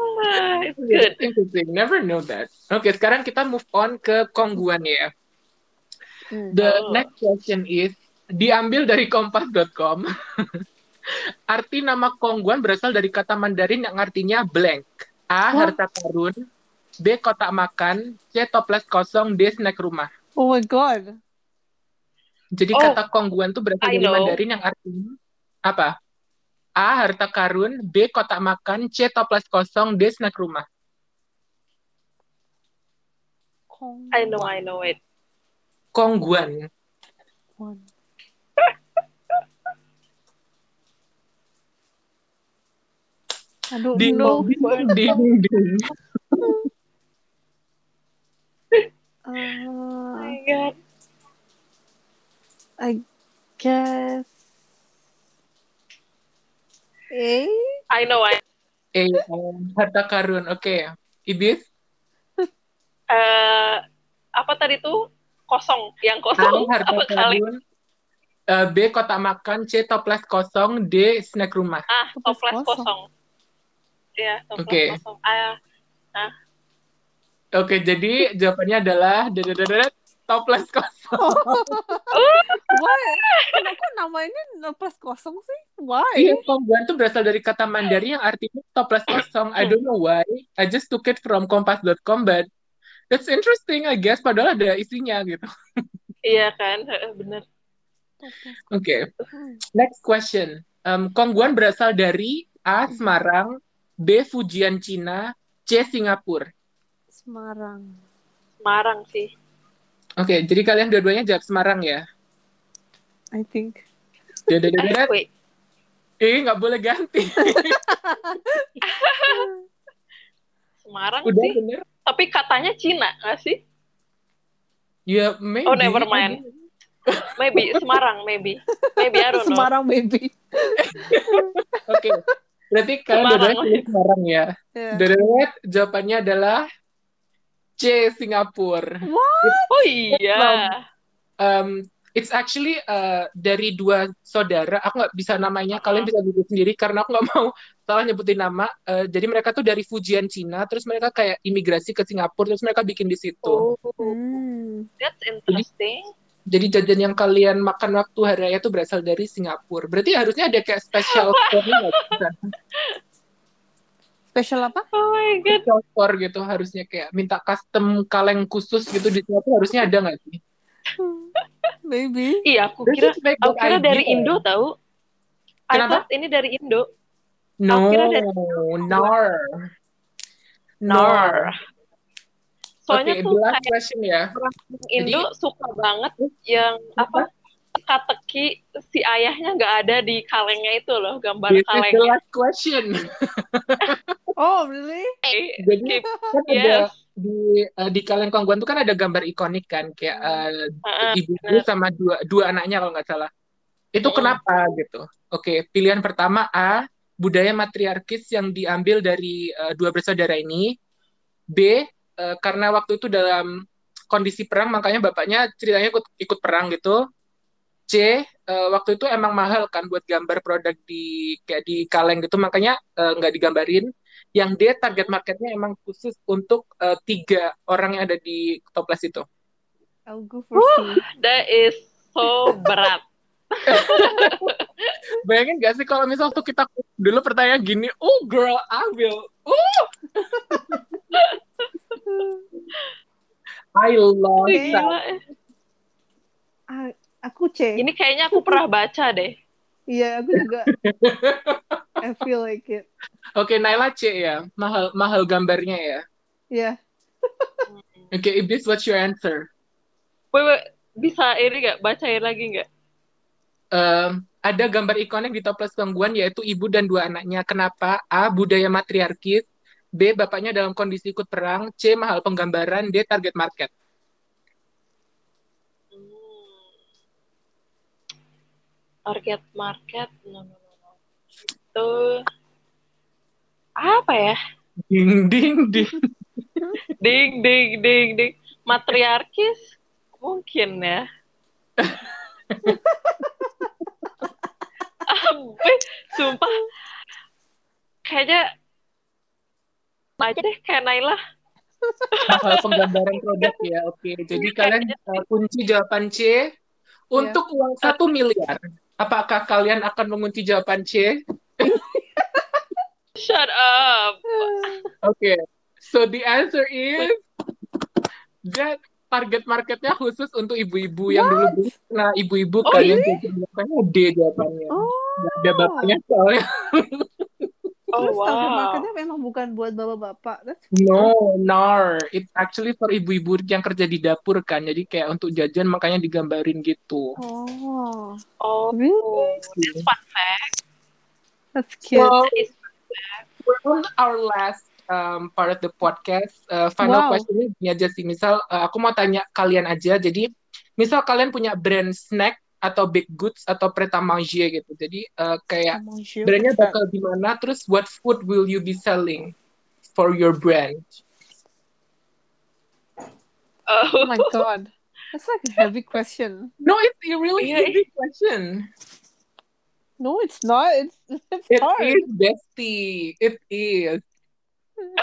Speaker 2: Ah,
Speaker 1: Good. Interesting. Never know that. Oke, sekarang kita move on ke kongguan ya.
Speaker 3: Hmm.
Speaker 1: The
Speaker 2: Oh.
Speaker 1: next question is diambil dari kompas.com. Arti nama kongguan berasal dari kata Mandarin yang artinya blank. A.
Speaker 3: What?
Speaker 1: Harta karun. B. Kotak makan. C. Toples kosong. D. Snack rumah.
Speaker 3: Oh my god.
Speaker 1: Jadi
Speaker 2: Oh.
Speaker 1: kata kongguan tuh berasal
Speaker 2: I
Speaker 1: dari
Speaker 2: know.
Speaker 1: Mandarin yang artinya apa? A. Harta karun. B. Kotak makan. C. Toples kosong. D. Snack rumah.
Speaker 2: I know, I know it.
Speaker 1: Kongguan.
Speaker 3: Kongguan. I don't
Speaker 1: Ding
Speaker 3: know.
Speaker 1: dong, ding dong, ding.
Speaker 2: Oh
Speaker 3: Uh,
Speaker 2: my god.
Speaker 3: I guess. Eh?
Speaker 2: I know. I
Speaker 1: Eh, eh, harta karun. Oke. Ibis?
Speaker 2: eh apa tadi tuh kosong, yang
Speaker 1: A.
Speaker 2: kosong
Speaker 1: Harta
Speaker 2: apa kali?
Speaker 1: karun. Eh, B. Kotak makan. C. Toples kosong. D. Snack rumah.
Speaker 2: Ah, toples
Speaker 3: Toples kosong.
Speaker 2: kosong. Iya, toples
Speaker 1: Oke.
Speaker 2: kosong. Ah,
Speaker 1: Oke, jadi jawabannya adalah dadadadadad, toples kosong.
Speaker 3: Why? Kenapa namanya plus kosong sih? Why?
Speaker 1: Iya, kongguan tuh berasal dari kata Mandarin yang artinya toples kosong. I don't know why. I just took it from kompas.com, but it's interesting, I guess. Padahal ada isinya gitu.
Speaker 2: iya kan, heeh, bener.
Speaker 1: Oke. Next question. Um, Kongguan berasal dari A. Semarang, B. Fujian, Cina, C. Singapura.
Speaker 3: Semarang.
Speaker 2: Semarang sih.
Speaker 1: Oke, jadi kalian dua-duanya jawab Semarang ya?
Speaker 3: I think.
Speaker 2: Eh,
Speaker 1: Dedededed.
Speaker 2: wait.
Speaker 1: Eh, nggak boleh ganti.
Speaker 2: Semarang
Speaker 1: Udah
Speaker 2: sih.
Speaker 1: bener?
Speaker 2: Tapi katanya Cina, nggak sih?
Speaker 1: Ya, maybe.
Speaker 2: Oh, never mind. Maybe Semarang, maybe. Maybe Iya, I don't know.
Speaker 3: Semarang maybe.
Speaker 1: Oke. Berarti kalian
Speaker 2: Semarang.
Speaker 1: dua-duanya pilih Semarang ya?
Speaker 3: Yeah.
Speaker 1: Dedededed, jawabannya adalah C. Singapura.
Speaker 2: Oh iya.
Speaker 1: um, it's actually uh, dari dua saudara. Aku nggak bisa namanya. Kalian
Speaker 2: Uh-huh.
Speaker 1: bisa google sendiri karena aku nggak mau salah nyebutin nama. Uh, jadi mereka tuh dari Fujian Cina. Terus mereka kayak imigrasi ke Singapura. Terus mereka bikin di situ.
Speaker 2: Oh,
Speaker 3: Hmm.
Speaker 2: that's interesting.
Speaker 1: Jadi jajan yang kalian makan waktu hari raya tuh berasal dari Singapura. Berarti harusnya ada kayak special store nggak sih?
Speaker 3: Special apa?
Speaker 2: Oh my god.
Speaker 1: special store gitu harusnya kayak minta custom kaleng khusus gitu di Singapura harusnya ada nggak sih?
Speaker 3: Maybe.
Speaker 2: Iya, aku
Speaker 1: This
Speaker 2: kira
Speaker 1: is my
Speaker 2: aku
Speaker 1: good
Speaker 2: kira
Speaker 1: idea.
Speaker 2: dari Indo tahu. I
Speaker 1: Kenapa?
Speaker 2: thought ini dari Indo.
Speaker 1: No,
Speaker 2: Aku kira dari-
Speaker 1: nar. Nar.
Speaker 2: Soalnya
Speaker 1: Oke, the
Speaker 2: tuh
Speaker 1: last
Speaker 2: kayak
Speaker 1: question ya.
Speaker 2: orang Indo suka banget yang apa teka-teki si ayahnya nggak ada di kalengnya itu loh gambar
Speaker 1: This is the
Speaker 2: kalengnya.
Speaker 1: last question.
Speaker 3: Oh really?
Speaker 2: Eh,
Speaker 1: Jadi kan ada
Speaker 2: Yes.
Speaker 1: di eh, di kaleng kongguan tuh kan ada gambar ikonik kan kayak eh,
Speaker 2: Heeh,
Speaker 1: ibu ibu
Speaker 2: benar.
Speaker 1: sama dua dua anaknya kalau nggak salah. Itu
Speaker 2: Hmm.
Speaker 1: kenapa gitu? Oke, pilihan pertama A budaya matriarkis yang diambil dari eh, dua bersaudara ini. B eh, karena waktu itu dalam kondisi perang makanya bapaknya ceritanya ikut ikut perang gitu. C eh, waktu itu emang mahal kan buat gambar produk di kayak di kaleng gitu makanya eh, nggak digambarin yang dia target marketnya emang khusus untuk eh, tiga orang yang ada di toples itu.
Speaker 3: I'll go for C.
Speaker 2: That is so berat.
Speaker 1: Bayangin gak sih kalau misal tuh kita dulu pertanyaan gini, oh girl, I will, oh I love that.
Speaker 2: Gila.
Speaker 3: Ah, aku C.
Speaker 2: Ini kayaknya aku pernah baca deh.
Speaker 3: Iya, aku juga. I feel like it.
Speaker 1: Oke, Naila C ya, mahal mahal gambarnya ya.
Speaker 3: Yeah.
Speaker 1: Oke, Iblis, what's your answer?
Speaker 2: Wait, wait, bisa ini nggak bacain lagi nggak?
Speaker 1: Um, ada gambar ikonik di toples gangguan yaitu ibu dan dua anaknya. Kenapa? A. Budaya matriarkis. B. Bapaknya dalam kondisi ikut perang. C. Mahal penggambaran. D. Target market.
Speaker 2: Hmm. Target market, no no no no. Itu apa ya?
Speaker 1: Ding, ding, ding.
Speaker 2: Ding ding ding ding. Matriarkis mungkin ya. Abis, sumpah. Kayaknya aja deh kayak Naila.
Speaker 1: Hal penggambaran produk ya. Oke, jadi kalian uh, kunci jawaban C untuk uang satu miliar. Apakah kalian akan mengunci jawaban C?
Speaker 2: Shut up.
Speaker 1: Oke, so the answer is that target marketnya khusus untuk ibu-ibu yang dulu
Speaker 3: What?
Speaker 1: beli. Nah, ibu-ibu
Speaker 2: Oh,
Speaker 1: kalian jawabannya D jawabannya.
Speaker 3: Oh.
Speaker 1: Nggak ada bapaknya soalnya.
Speaker 2: Oh
Speaker 3: Terus target
Speaker 2: wow.
Speaker 3: marketnya memang bukan buat bapak-bapak. That's
Speaker 1: No, nar. It's actually for ibu-ibu yang kerja di dapur kan. Jadi kayak untuk jajan makanya digambarin gitu.
Speaker 3: oh,
Speaker 2: Oh.
Speaker 3: really?
Speaker 2: That's fun fact.
Speaker 3: That's cute.
Speaker 1: So, we're on our last um, part of the podcast. Uh, final
Speaker 3: Wow.
Speaker 1: questionnya gini aja sih. Misal uh, aku mau tanya kalian aja. Jadi misal kalian punya brand snack atau baked goods atau pret à manger gitu. Jadi uh, kayak
Speaker 3: Among you.
Speaker 1: brandnya bakal di mana? Terus what food will you be selling for your brand?
Speaker 3: Oh
Speaker 2: Oh.
Speaker 3: my god. That's like a heavy question.
Speaker 1: No, it's a really
Speaker 2: Yeah.
Speaker 1: easy question.
Speaker 3: No, it's not. It's it's
Speaker 1: It
Speaker 3: hard.
Speaker 1: is bestie. It is.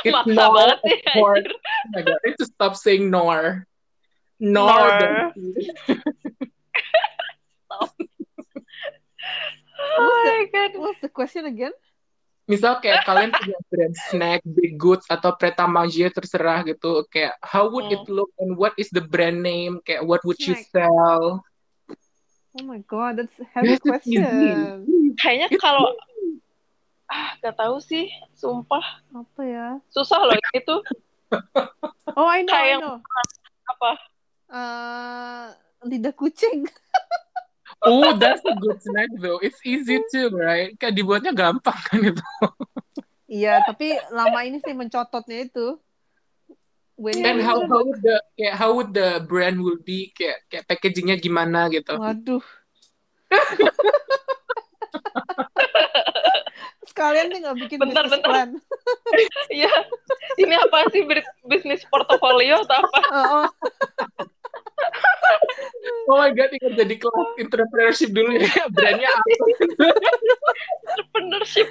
Speaker 1: It's
Speaker 2: Maksa
Speaker 1: not
Speaker 2: banget
Speaker 1: a
Speaker 2: ya,
Speaker 1: pork. Oh my god, I need to stop saying nor. Nor.
Speaker 2: Nor.
Speaker 1: bestie.
Speaker 2: Oh my god.
Speaker 3: What's the question again?
Speaker 1: Misal kayak kalian punya brand snack, big goods, atau preta manger terserah gitu. Kayak how would it look and what is the brand name? Kayak what would you
Speaker 3: Hmm. Snack.
Speaker 1: sell?
Speaker 3: Oh my god, that's a
Speaker 1: Yes,
Speaker 3: heavy
Speaker 1: it's easy.
Speaker 3: question.
Speaker 2: Kayaknya kalau ah gak tahu sih, sumpah
Speaker 3: Apa ya?
Speaker 2: susah loh itu
Speaker 3: Oh, I know, I
Speaker 2: Kayak-
Speaker 3: know.
Speaker 2: apa?
Speaker 3: Uh, lidah kucing.
Speaker 1: Oh, that's a good snack though. It's easy too, right? Kayak dibuatnya gampang kan itu.
Speaker 3: Iya, tapi lama ini sih mencototnya itu. When
Speaker 1: And how, how would the kayak how would the brand will be kayak kayak packagingnya gimana gitu?
Speaker 3: Waduh. Sekalian nih nggak bikin
Speaker 2: Bentar,
Speaker 3: business
Speaker 2: bentar.
Speaker 3: plan.
Speaker 2: Iya. Ini apa sih bir- bisnis portofolio atau apa?
Speaker 1: Oh
Speaker 3: Oh, oh.
Speaker 1: my god, ingat jadi kelas entrepreneurship dulu ya. Brandnya apa?
Speaker 2: Entrepreneurship.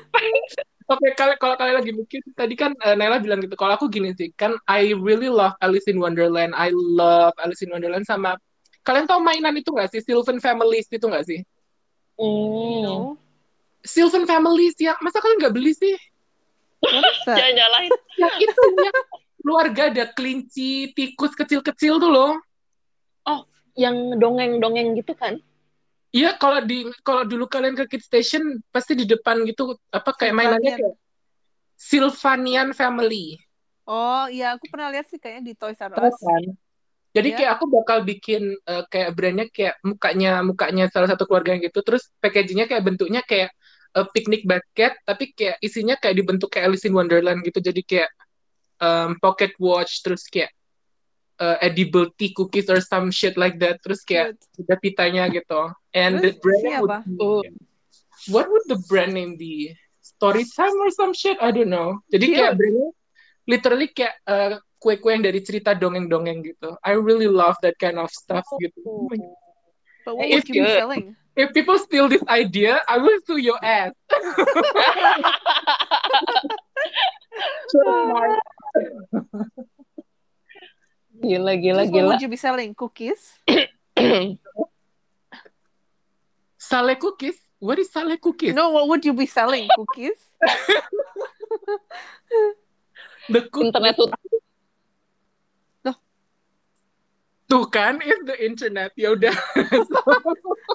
Speaker 1: Oke, kalau kalau kalian lagi mikir tadi kan eh, Naila bilang gitu. Kalau aku gini sih, kan I really love Alice in Wonderland. I love Alice in Wonderland sama kalian tau mainan itu nggak sih? Sylvan Families itu nggak sih?
Speaker 2: Hmm.
Speaker 3: No.
Speaker 1: Sylvan Families ya, masa kalian nggak beli sih?
Speaker 3: What
Speaker 1: Ya.
Speaker 3: is that?
Speaker 2: Jangan nyalahin.
Speaker 1: Yang itu yang keluarga ada kelinci, tikus kecil-kecil tuh loh.
Speaker 2: Yang dongeng-dongeng gitu kan?
Speaker 1: Iya, kalau di kalau dulu kalian ke Kid Station pasti di depan gitu apa kayak mainannya
Speaker 3: Sylvanian.
Speaker 1: kayak Sylvanian Family.
Speaker 3: Oh, iya aku pernah lihat sih kayaknya di Toys R
Speaker 1: Tahu
Speaker 3: Us.
Speaker 1: kan? Jadi
Speaker 3: Ya.
Speaker 1: kayak aku bakal bikin eh, kayak brandnya kayak mukanya mukanya salah satu keluarga yang gitu, terus packagingnya kayak bentuknya kayak eh, picnic basket, tapi kayak isinya kayak dibentuk kayak Alice in Wonderland gitu, jadi kayak em, pocket watch, terus kayak eh, edible tea cookies or some shit like that, terus kayak
Speaker 3: Cute.
Speaker 1: ada pitanya gitu. And the
Speaker 3: Terus
Speaker 1: brand
Speaker 3: isinya
Speaker 1: name would
Speaker 3: apa?
Speaker 1: be-
Speaker 2: Oh.
Speaker 1: what would the brand name be? Story time or some shit? I don't know. Jadi
Speaker 2: Iya.
Speaker 1: kayak
Speaker 3: Cute.
Speaker 1: brandnya literally kayak eh, kue-kue yang dari cerita dongeng-dongeng gitu. I really love that kind of stuff
Speaker 3: Oh.
Speaker 1: gitu.
Speaker 3: But what
Speaker 1: Eh,
Speaker 2: It's
Speaker 3: would you be
Speaker 2: good.
Speaker 3: selling?
Speaker 1: If people steal this idea, I will sue your ass.
Speaker 2: Eh,
Speaker 1: Trademark.
Speaker 2: Gila, gila,
Speaker 3: Terus what
Speaker 2: gila.
Speaker 3: would you be selling? Cookies?
Speaker 1: Sale cookies? What is sale cookies?
Speaker 3: No, what would you be selling? Cookies?
Speaker 1: The
Speaker 3: Mm.
Speaker 1: cookies
Speaker 2: Internet tuh
Speaker 1: tuh kan is the internet. Ya udah.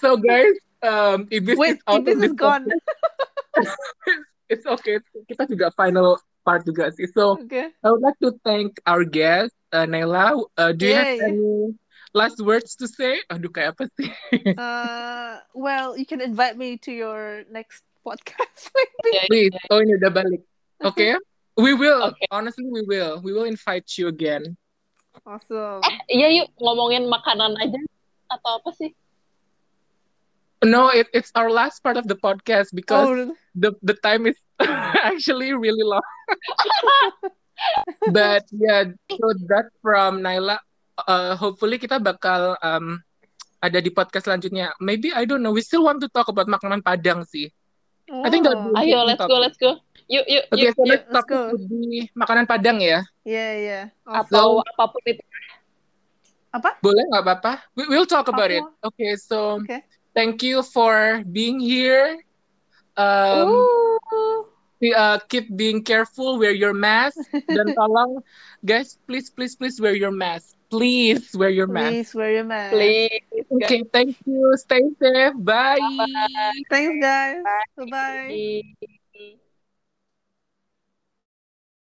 Speaker 1: so guys, um, Ibis
Speaker 3: Wait,
Speaker 1: is out
Speaker 3: this
Speaker 1: of
Speaker 3: is
Speaker 1: this
Speaker 3: gone.
Speaker 1: it's okay. Kita juga final part juga sih. So
Speaker 3: Okay.
Speaker 1: I would like to thank our guest, uh, Naila. Uh, do you
Speaker 3: Yay.
Speaker 1: have any last words to say? Aduh, kayak apa sih?
Speaker 3: Uh, well, you can invite me to your next podcast, maybe.
Speaker 1: Please. Oh, ini udah balik. Okay. We will.
Speaker 2: Okay.
Speaker 1: Honestly, we will. We will invite you again.
Speaker 3: Awesome.
Speaker 2: Iya yuk ngomongin makanan aja atau apa sih?
Speaker 1: No, it, it's our last part of the podcast because
Speaker 3: Oh,
Speaker 1: the the time is actually really long. But yeah, so that's from Naila. Uh, hopefully kita bakal um, ada di podcast selanjutnya.
Speaker 3: Oh.
Speaker 1: Maybe I don't know. We still want to talk about makanan Padang sih. I think that would be
Speaker 2: Ayo let's go let's go. Yuk, yuk,
Speaker 1: Oke,
Speaker 2: yuk.
Speaker 1: so
Speaker 3: yuk,
Speaker 1: next
Speaker 3: let's
Speaker 1: topic
Speaker 3: go.
Speaker 1: would be makanan Padang ya.
Speaker 3: Yeah, yeah.
Speaker 2: Atau apapun itu.
Speaker 1: Boleh nggak apa-apa? We, we'll talk about it.
Speaker 3: Apa?
Speaker 1: Okay, so
Speaker 3: Okay.
Speaker 1: thank you for being here. Um,
Speaker 2: Ooh.
Speaker 1: we, uh, keep being careful, wear your mask. Dan tolong, guys, please, please, please wear your mask. Please wear your mask.
Speaker 3: Please wear your mask.
Speaker 2: Please.
Speaker 1: Okay, thank you. Stay safe. Bye.
Speaker 3: Thanks, guys. Bye bye.
Speaker 2: guys.